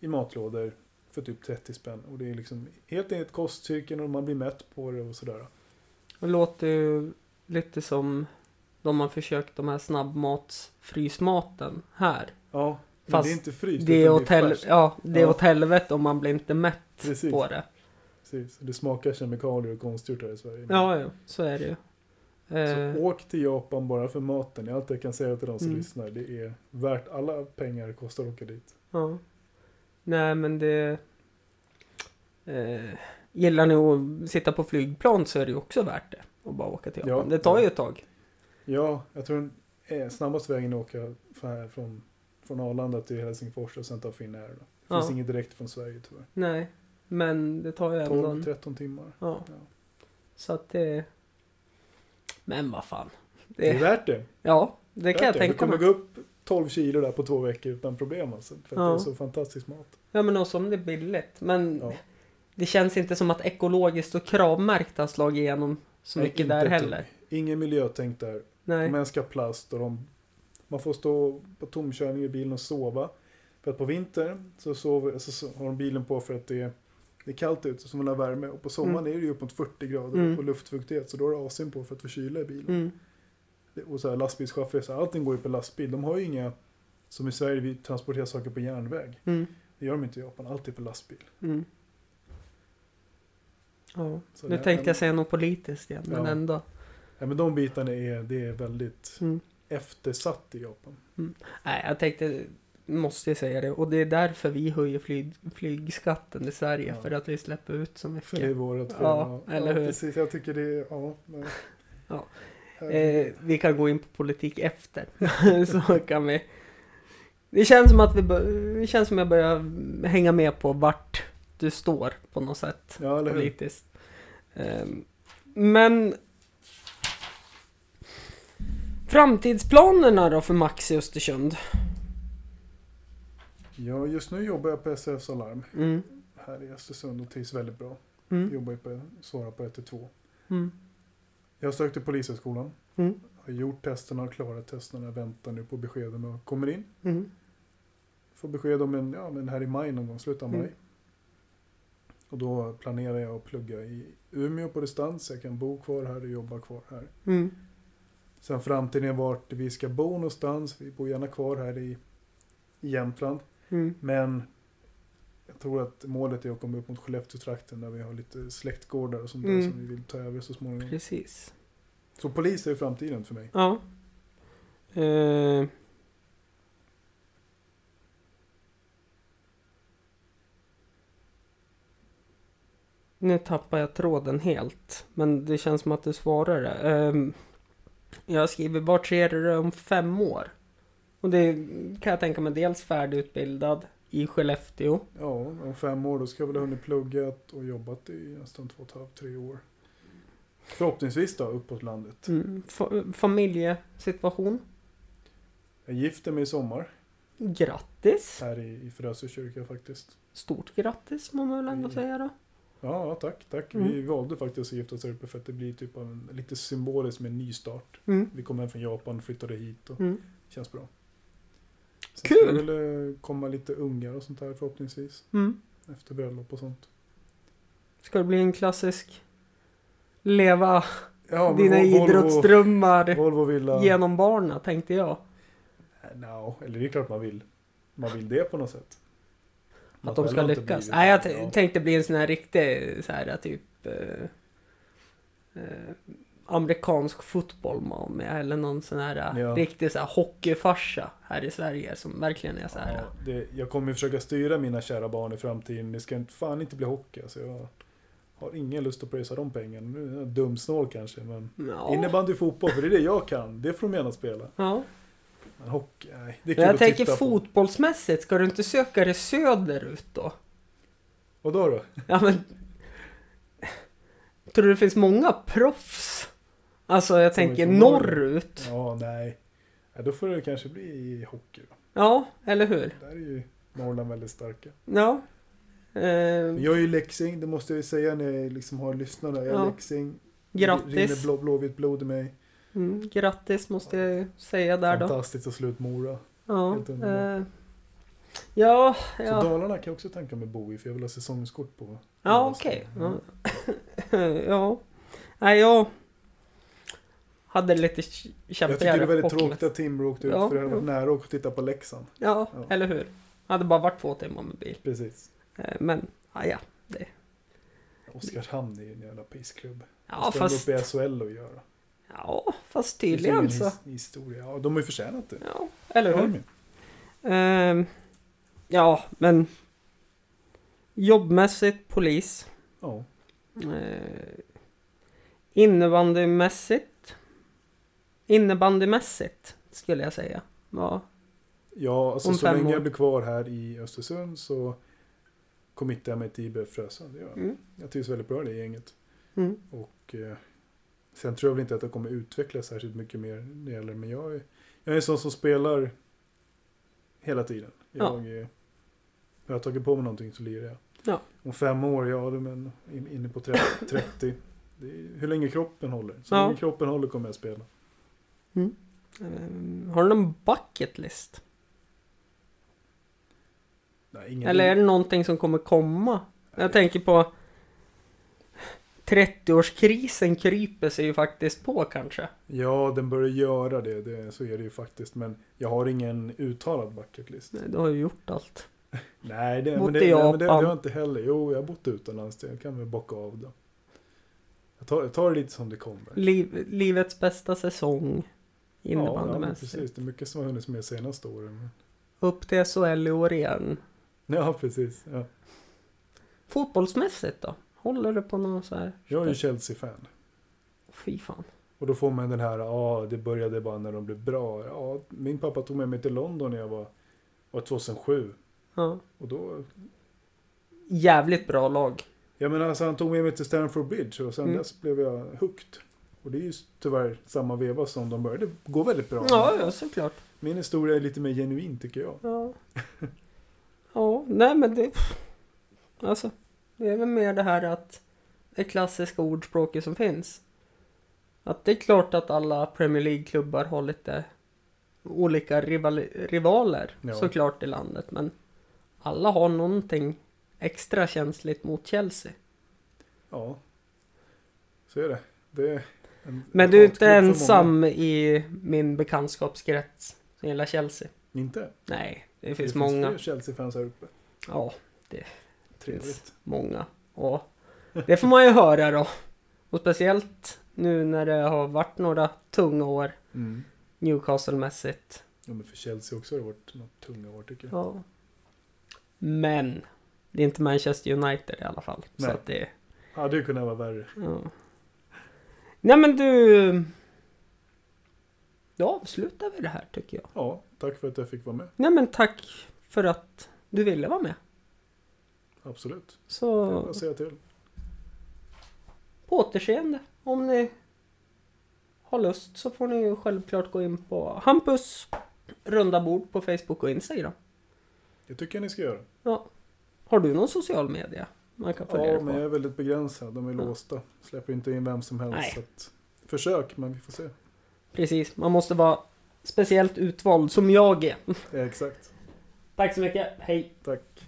i matlådor för typ 30 spänn. Och det är liksom helt enligt kostcirkeln och man blir mätt på det och sådär.
Det låter ju lite som de har försökt de här snabbmatsfrysmaten här.
Ja, men
Fast
det är inte fryst.
Det är,
utan
åt, hel-
färskt.
ja, det är
Ja.
åt helvete om man blir inte mätt
Precis.
på det.
Precis. Det smakar kemikalier och konstgjort här i Sverige.
Ja, ja, så är det ju. Eh,
Så åk till Japan bara för maten. Det är allt jag kan säga till de som
Mm.
lyssnar. Det är värt alla pengar det kostar att åka dit.
Ja. Nej, men det... Eh, gillar ni att sitta på flygplan så är det ju också värt det. Och bara åka till Japan.
Ja.
det tar ju ett tag.
Ja, jag tror den eh, snabbaste vägen är att åka från, här, från, från Arlanda till Helsingfors och sen ta Finnair. Då. Det finns
Ja.
inget direkt från Sverige tyvärr.
Nej, men det tar ju ändå... en-
12-13 timmar.
Ja.
Ja.
Så att det... Men vad fan.
Det är
Det,
värt det.
ja, det kan jag
Värt det. Du
tänka
kommer
mig.
gå upp 12 kilo där på två veckor utan problem alltså. För att
Ja.
det är så fantastisk mat.
Ja, men också om det är billigt. Men
Ja.
det känns inte som att ekologiskt och kravmärkt har slagit igenom så
Nej,
mycket
inte
där
ett dugg.
heller.
Ingen miljötänk där.
Nej.
De älskar plast och de, man får stå på tomkörning i bilen och sova. För att på vintern så, sover, så, så har de bilen på för att det är, det är kallt ute så man har värme. Och på sommaren är det ju upp mot 40 grader
Mm.
och luftfuktighet så då har du AC'n på för att få kyla i bilen.
Mm.
Det- Och så här lastbilschaufförer, så här, allting går ju på lastbil. De har ju inga, som i Sverige, vi transporterar saker på järnväg.
Mm.
Det gör de inte i Japan, allt är på lastbil.
Mm. Ja,
Så
nu
det-
tänkte jag säga något politiskt igen, men
Ja.
ändå.
Ja, men de bitarna är, det är väldigt
Mm.
eftersatt i Japan.
Nej, jag tänkte, måste jag säga det. Och det är därför vi höjer flyg, flygskatten i Sverige,
Ja.
för att vi släpper ut så
För det är
mycket.
vårat fel.
Ja, eller hur?
Precis, jag tycker det är, ja. men-
Ja.
Här-
Eh, vi kan gå in på politik efter. så kan vi. Det känns som att vi bör, det känns som jag börjar hänga med på vart du står på något sätt.
Ja, eller hur?
politiskt. Ehm, Men framtidsplanerna då för Max i Östersund?
Ja, just nu jobbar jag på SRFs Alarm
Mm.
här i Östersund och trivs väldigt bra. Jag
Mm.
jobbar ju på, svarar på 112.
Mm.
Jag sökte Polishögskolan,
Mm.
har gjort testerna och klarat testerna. Jag väntar nu på beskeden och kommer in.
Mm.
Får besked om en, ja, men här i maj någon gång, slutet av maj.
Mm.
Och då planerar jag att plugga i Umeå på distans. Jag kan bo kvar här och jobba kvar här.
Mm.
Sen framtiden är vart vi ska bo någonstans. Vi bor gärna kvar här i i Jämtland.
Mm.
Men jag tror att målet är att komma upp mot Skellefteå-trakten där vi har lite släktgårdar och sånt där
Mm.
som vi vill ta över så småningom.
Precis.
Så polis är ju framtiden för mig.
Ja. Eh. Nu tappar jag tråden helt, men det känns som att du svarar det. Ehm, jag skriver, vart ser du dig om fem år? Och det kan jag tänka mig dels färdigutbildad i Skellefteå.
Ja, om fem år då ska jag väl ha hunnit pluggat och jobbat i nästan två och ett halvt, tre år. Förhoppningsvis då, uppåt landet.
Mm, fa- familjesituation.
Jag gifter mig i sommar
Grattis!
här i, i Frösö kyrka faktiskt.
Stort grattis må man väl
Mm.
ändå säga då.
Ja, ja, tack, tack. Vi valde faktiskt att gifta oss här uppe för att det blir typ av en, lite symboliskt med en ny start.
Mm.
Vi kom hem från Japan, flyttade hit och
Mm.
Känns bra. Sen ska
Kul!
det väl eh, komma lite ungar och sånt där förhoppningsvis.
Mm.
Efter bröllop och sånt.
Ska det bli en klassisk leva
Ja,
dina
Vol-
idrottsdrömmar
Volvo, Volvo Villa.
genom barna tänkte jag.
Eh, No, eller det är klart man vill. Man vill det på något sätt. Man
Att de
själv
ska
har inte
lyckas.
blivit
Nej, jag
det,
t-
ja.
tänkte bli en sån här riktig så här typ eh, eh, amerikansk fotboll mommy eller någon sån här eh,
Ja.
riktig så här hockeyfarsa här i Sverige som verkligen är så här.
Ja, det, jag kommer ju försöka styra mina kära barn i framtiden. Det ska inte, fan inte bli hockey. Alltså jag har ingen lust att pröjsa de pengarna. Nu är jag dumsnål kanske, men
Ja.
innebandy och fotboll, för det är det jag kan. Det får de gärna spela.
Ja.
Men hockey, nej. Det är
Men
kul
jag
att
tänker
titta på.
fotbollsmässigt, ska du inte söka dig söderut då?
Och då då?
Ja, men... Tror du det finns många proffs? Alltså jag
Som liksom är
tänker
från Norge.
norrut.
Ja, nej. Ja, då får det kanske bli hockey. Då.
Ja, eller hur?
Där är ju Norrland väldigt starka.
Ja. Eh,
Jag är ju leksing, det måste jag ju säga när jag liksom har lyssnarna. Jag är
Ja.
leksing. Det rinner
grattis.
blå, blåvitt blod i mig.
Mm, grattis måste jag säga där då.
Fantastiskt och slut Mora.
Ja,
Helt
eh,
underbart.
ja,
Så
ja.
Dalarna kan jag också tänka mig bo i för jag vill ha säsongskort på.
ja okej. Ja. ja. Nej, jag hade lite ch-
Jag
kämpigare
tycker det är väldigt
hockey-
tråkigt att Timrå åkte ut
Ja,
för jag hade varit
ja.
nära att titta på Leksand.
Ja,
Ja.
eller hur? Jag hade bara varit två timmar med bil.
Precis.
Eh, Men, ja, ja.
Oskarshamn är ju en jävla pissklubb.
Ja,
ska fast...
fast...
de upp i SHL och göra?
Ja, fast
Det finns ingen
tydligen så.
his- historia. Ja, de har ju förtjänat det.
Ja, eller
Jag håller
hur?
med.
Ehm, ja, men jobbmässigt polis.
Ja.
Eh, innebandymässigt. Innebandymässigt skulle jag säga. Ja,
Ja, alltså
Om
så
fem
länge
år.
jag blir kvar här i Östersund så committar jag mig till IBF Frösön. Det gör jag.
Mm.
jag trivs väldigt bra i det gänget.
mm,
Och, eh, sen tror jag väl inte att jag kommer utvecklas särskilt mycket mer när det gäller, men jag är, jag är en sån som spelar hela tiden.
Ja.
Jag, ja. Har jag tagit på mig någonting så lirar jag.
Ja.
Om fem år, ja, då är man in- inne på 30. 30. Det är, hur länge kroppen håller. Så
Ja.
länge kroppen håller kommer jag spela.
ehm, har du någon bucket list?
Nej, ingen
Eller är det någonting som kommer komma? Jag tänker på 30-årskrisen kryper sig ju faktiskt på kanske.
Ja, den börjar göra det, det. Så är det ju faktiskt. Men jag har ingen uttalad bucket list.
Nej, Du har ju gjort allt.
Nej, det,
Bott
men det,
i
nej, men det, det har jag
Japan.
inte heller. Jo, jag har bott utomlands. Det kan vi bocka av då. Jag tar, jag tar det lite som det kommer.
Liv, livets bästa säsong
ja, men
innebandymässigt.
precis. Det är mycket som har hunnits med senaste åren.
Upp till SHL i år igen.
Ja, precis. Ja.
Fotbollsmässigt då? Håller du på någon så här?
Jag är ju Chelsea-fan.
Fy fan.
Och då får man den här, ja, ah, det började bara när de blev bra. Ja, min pappa tog med mig till London när jag var, var 2007.
Ja.
Och då,
Jävligt bra lag.
jag menar, alltså, han tog med mig till Stamford Bridge och sen
Mm.
dess blev jag hooked. Och det är ju tyvärr samma veva som de började gå väldigt bra.
Ja, ja såklart.
Min historia är lite mer genuin tycker jag.
Ja. ja, nej men det... Alltså, det är väl mer det här att det klassiska ordspråket som finns. Att det är klart att alla Premier League-klubbar har lite olika rival- rivaler
Ja.
såklart i landet, men alla har någonting extra känsligt mot Chelsea.
Ja. Så är det. det är en,
Men
en
du är inte
hatklubb för många.
ensam i min bekantskapskrets som gillar Chelsea.
Inte?
Nej, Det finns många.
fler Chelsea-fans här uppe.
Ja,
Trevligt.
många. Och det får man ju höra då. Och speciellt nu när det har varit några tunga år
Mm.
Newcastle-mässigt.
Ja, men för Chelsea också har det varit några tunga år tycker jag.
Ja. Men det är inte Manchester United i alla fall.
Nej.
Så att det,
Hade ju kunnat vara värre.
ja. Nej men du. Då avslutar vi det här tycker jag.
Ja, tack för att jag fick vara med.
Nej men tack för att du ville vara med.
Absolut.
Så
Jag säger till.
på återseende. Om ni har lust så får ni ju självklart gå in på Hampus runda bord på Facebook och Instagram.
Det tycker jag ni ska göra.
Har du någon social media man kan följa
Ja,
dig
men jag
på?
är väldigt begränsad. De är
Ja.
låsta. Släpper inte in vem som helst.
Nej.
Så att, försök, men vi får se.
Precis, man måste vara speciellt utvald som jag är.
Ja, exakt.
Tack så mycket, hej!
Tack.